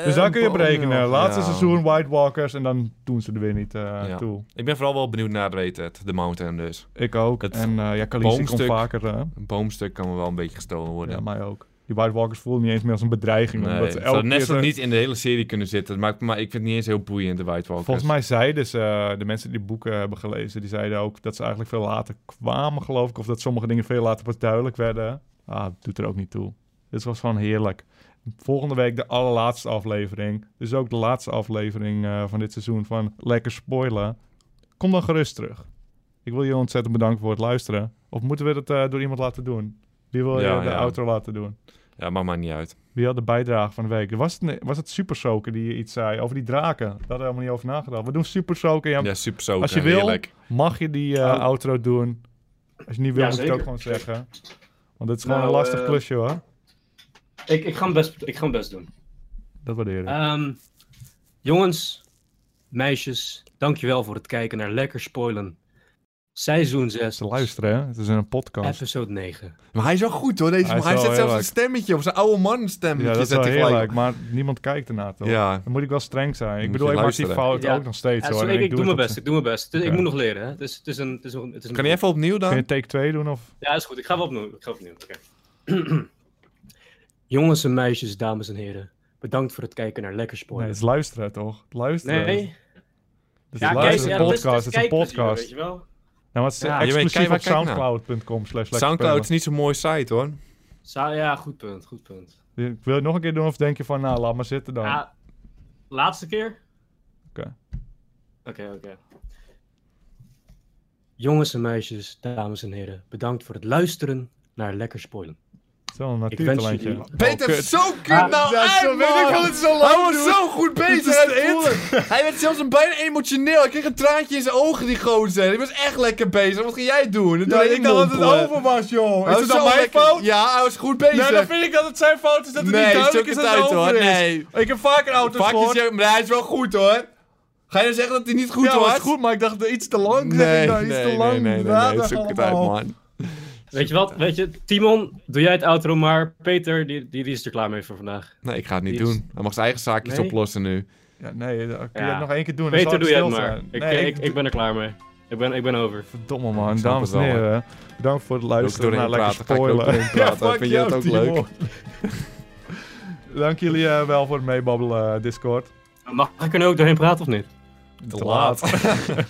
[SPEAKER 1] Dus daar kun je op
[SPEAKER 2] Eh, boomjoch.
[SPEAKER 1] rekenen. Laatste
[SPEAKER 2] Ja.
[SPEAKER 1] seizoen White Walkers. En dan doen ze er weer niet eh,
[SPEAKER 2] Ja.
[SPEAKER 1] toe.
[SPEAKER 2] Ik ben vooral wel benieuwd naar Rated, de Mountain dus.
[SPEAKER 1] Ik ook.
[SPEAKER 2] Het
[SPEAKER 1] en eh ja, Khaleesi komt
[SPEAKER 2] boomstuk-
[SPEAKER 1] vaker. eh,
[SPEAKER 2] Een boomstuk kan me wel een beetje gestolen worden.
[SPEAKER 1] ja, mij ook. Die White Walkers voelen niet eens meer als een bedreiging.
[SPEAKER 2] Nee,
[SPEAKER 1] omdat
[SPEAKER 2] het
[SPEAKER 1] ze
[SPEAKER 2] zou
[SPEAKER 1] elke
[SPEAKER 2] net
[SPEAKER 1] keer
[SPEAKER 2] zo
[SPEAKER 1] te-
[SPEAKER 2] niet in de hele serie kunnen zitten. Maar, maar ik vind het niet eens heel boeiend, de White Walkers.
[SPEAKER 1] Volgens mij zeiden ze, eh, de mensen die boeken hebben gelezen, die zeiden ook dat ze eigenlijk veel later kwamen, geloof ik. Of dat sommige dingen veel later pas duidelijk werden. Ah, doet er ook niet toe. Dit was gewoon heerlijk. Volgende week de allerlaatste aflevering. Dus ook de laatste aflevering eh, van dit seizoen van Lekker Spoilen. Kom dan gerust terug. Ik wil je ontzettend bedanken voor het luisteren. Of moeten we dat eh, door iemand laten doen? Wie wil
[SPEAKER 2] Ja,
[SPEAKER 1] je de
[SPEAKER 2] ja.
[SPEAKER 1] outro laten doen?
[SPEAKER 2] Ja, maakt mij niet uit.
[SPEAKER 1] Wie had de bijdrage van de week? Was het, was het Super Soaker die je iets zei over die draken? Daar hadden we helemaal niet over nagedacht. We doen Super Soaker. Ja,
[SPEAKER 2] Ja, Super Soaker,
[SPEAKER 1] Als je wil,
[SPEAKER 2] heerlijk.
[SPEAKER 1] mag je die eh,
[SPEAKER 2] Oh.
[SPEAKER 1] outro doen. Als je niet wil,
[SPEAKER 12] Ja,
[SPEAKER 1] moet je het
[SPEAKER 12] zeker.
[SPEAKER 1] ook gewoon zeggen. Want het is gewoon
[SPEAKER 12] Nou,
[SPEAKER 1] een lastig
[SPEAKER 12] eh,
[SPEAKER 1] klusje hoor.
[SPEAKER 12] Ik, ik, ga mijn best, ik ga mijn best doen.
[SPEAKER 1] Dat waardeer ik.
[SPEAKER 12] Ehm, jongens, meisjes, dankjewel voor het kijken naar Lekker Spoilen. Seizoen 6,
[SPEAKER 1] Te luisteren, hè? Het is een podcast.
[SPEAKER 12] episode 9.
[SPEAKER 2] Maar hij is wel goed hoor. Deze,
[SPEAKER 1] Hij
[SPEAKER 2] hij
[SPEAKER 1] is wel
[SPEAKER 2] hij
[SPEAKER 1] Nou,
[SPEAKER 2] zet zelfs
[SPEAKER 1] heerlijk.
[SPEAKER 2] een stemmetje op zijn oude man
[SPEAKER 1] Ja,
[SPEAKER 2] stemmetje.
[SPEAKER 1] dat is
[SPEAKER 2] zet
[SPEAKER 1] wel
[SPEAKER 2] hij gelijk.
[SPEAKER 1] heerlijk, maar niemand kijkt ernaar toch?
[SPEAKER 2] Ja.
[SPEAKER 1] Dan moet ik wel streng zijn. Ik
[SPEAKER 2] Moet
[SPEAKER 1] bedoel,
[SPEAKER 2] je
[SPEAKER 1] ik maak die
[SPEAKER 2] luisteren.
[SPEAKER 1] fout ook nog steeds
[SPEAKER 12] Ja,
[SPEAKER 1] hoor.
[SPEAKER 12] zo,
[SPEAKER 1] en
[SPEAKER 12] ik, ik doe
[SPEAKER 1] het
[SPEAKER 12] mijn
[SPEAKER 1] op
[SPEAKER 12] best, ik doe mijn best. Het-
[SPEAKER 1] Oké.
[SPEAKER 12] Ik moet nog leren, hè. Dus het is een... Het is een, het is een
[SPEAKER 2] Kan je even opnieuw dan?
[SPEAKER 1] Kun je take 2 doen of...
[SPEAKER 12] Ja, is goed. Ik ga wel opnieuw. Ik ga opnieuw. Oké. [CLEARS THROAT] Jongens en meisjes, dames en heren. Bedankt voor het kijken naar Lekker
[SPEAKER 1] Nee,
[SPEAKER 12] Spoilen.
[SPEAKER 1] het is luisteren toch? Het luisteren.
[SPEAKER 12] Nee.
[SPEAKER 1] Dus het
[SPEAKER 12] Ja, kijk,
[SPEAKER 1] luisteren
[SPEAKER 12] ja,
[SPEAKER 1] een
[SPEAKER 12] dat is-
[SPEAKER 1] podcast.
[SPEAKER 12] dat
[SPEAKER 1] Het
[SPEAKER 12] is
[SPEAKER 1] is een
[SPEAKER 12] kijkplezier,
[SPEAKER 1] podcast.
[SPEAKER 12] weet je wel.
[SPEAKER 1] Nou, maar het is
[SPEAKER 12] Ja,
[SPEAKER 1] eh,
[SPEAKER 12] je weet,
[SPEAKER 1] exclusief
[SPEAKER 12] kijk
[SPEAKER 1] op
[SPEAKER 12] waar kijk naar.
[SPEAKER 1] soundcloud.com slash
[SPEAKER 2] Soundcloud is niet zo'n mooie site hoor.
[SPEAKER 12] Sa- ja, goed punt. Goed punt.
[SPEAKER 1] lekkerspelen. Wil je het nog een keer doen of denk je van, nou, laat maar zitten dan?
[SPEAKER 12] Ah, laatste keer?
[SPEAKER 1] Oké.
[SPEAKER 12] Oké, oké. Jongens en meisjes, dames en heren. Bedankt voor het luisteren naar Lekker Spoilen.
[SPEAKER 1] Wel een
[SPEAKER 12] wens
[SPEAKER 1] natuurtalentje.
[SPEAKER 12] jullie-
[SPEAKER 1] Oh,
[SPEAKER 2] Peter,
[SPEAKER 1] kut.
[SPEAKER 2] zo kut nou
[SPEAKER 1] ja,
[SPEAKER 2] uit,
[SPEAKER 1] zo weet
[SPEAKER 2] man!
[SPEAKER 1] ik wel, het is al lang
[SPEAKER 2] Hij was
[SPEAKER 1] doen.
[SPEAKER 2] zo goed
[SPEAKER 1] Dit
[SPEAKER 2] bezig,
[SPEAKER 1] is
[SPEAKER 2] hij
[SPEAKER 1] de
[SPEAKER 2] voelde het. Hij werd zelfs een bijna emotioneel. Hij kreeg een traantje in zijn ogen, die gozer. Hij was echt lekker bezig. Wat ga jij doen? En
[SPEAKER 1] Ja,
[SPEAKER 2] toen
[SPEAKER 1] ik dacht dat het
[SPEAKER 2] mompelde.
[SPEAKER 1] over was, joh.
[SPEAKER 2] Hij
[SPEAKER 1] Is
[SPEAKER 2] was
[SPEAKER 1] het dan
[SPEAKER 2] zo
[SPEAKER 1] mijn
[SPEAKER 2] lekker-
[SPEAKER 1] fout?
[SPEAKER 2] Ja, hij was goed bezig.
[SPEAKER 1] Nee, dan vind ik dat het zijn fout is dat het
[SPEAKER 2] Nee,
[SPEAKER 1] niet duidelijk is
[SPEAKER 2] stuk
[SPEAKER 1] dat
[SPEAKER 2] het
[SPEAKER 1] het
[SPEAKER 2] uit,
[SPEAKER 1] over
[SPEAKER 2] hoor.
[SPEAKER 1] is.
[SPEAKER 2] Nee.
[SPEAKER 1] Ik heb vaker auto's
[SPEAKER 2] Vaak
[SPEAKER 1] gehoord.
[SPEAKER 2] is hij, maar hij is wel goed, hoor. Ga je nou zeggen dat hij niet goed
[SPEAKER 1] ja,
[SPEAKER 2] was?
[SPEAKER 1] was goed, maar ik dacht iets te lang. zeg
[SPEAKER 2] Nee,
[SPEAKER 1] ik nou, [LAUGHS] iets
[SPEAKER 2] nee,
[SPEAKER 1] te
[SPEAKER 2] nee,
[SPEAKER 1] lang.
[SPEAKER 2] nee, nee, nee,
[SPEAKER 1] Ja,
[SPEAKER 2] het is
[SPEAKER 1] dat
[SPEAKER 2] ook uit,
[SPEAKER 1] allemaal.
[SPEAKER 2] man.
[SPEAKER 12] Weet je wat? Weet je, Timon, doe jij het outro maar. Peter, die, die, die is er klaar mee voor vandaag.
[SPEAKER 2] Nee, ik ga het niet
[SPEAKER 12] Die is-
[SPEAKER 2] doen. Hij mag zijn eigen zaakjes
[SPEAKER 12] Nee?
[SPEAKER 2] oplossen nu.
[SPEAKER 1] Ja, nee, dat Oh, kun je
[SPEAKER 12] Ja.
[SPEAKER 1] het nog één keer doen. dan zal
[SPEAKER 12] Peter,
[SPEAKER 1] het
[SPEAKER 12] doe jij het
[SPEAKER 1] stil
[SPEAKER 12] maar.
[SPEAKER 1] zijn.
[SPEAKER 12] Ik,
[SPEAKER 1] Nee,
[SPEAKER 12] ik, ik ben er klaar mee. Ik ben, ik ben over.
[SPEAKER 1] Verdomme man,
[SPEAKER 2] snap
[SPEAKER 1] dames
[SPEAKER 2] het
[SPEAKER 1] en
[SPEAKER 2] wel,
[SPEAKER 1] heren. Bedankt voor het luisteren
[SPEAKER 2] doorheen
[SPEAKER 1] naar Lekker
[SPEAKER 2] praten, ga ik er ook
[SPEAKER 1] Spoilen. [LAUGHS]
[SPEAKER 2] doorheen praten.
[SPEAKER 1] fuck
[SPEAKER 2] Vind je dat
[SPEAKER 1] jou,
[SPEAKER 2] ook leuk?
[SPEAKER 1] Timon. [LAUGHS] Dank jullie eh, wel voor het meebabbelen, Discord.
[SPEAKER 12] Mag ik er nu ook doorheen praten of niet?
[SPEAKER 1] [LAUGHS] Te laat.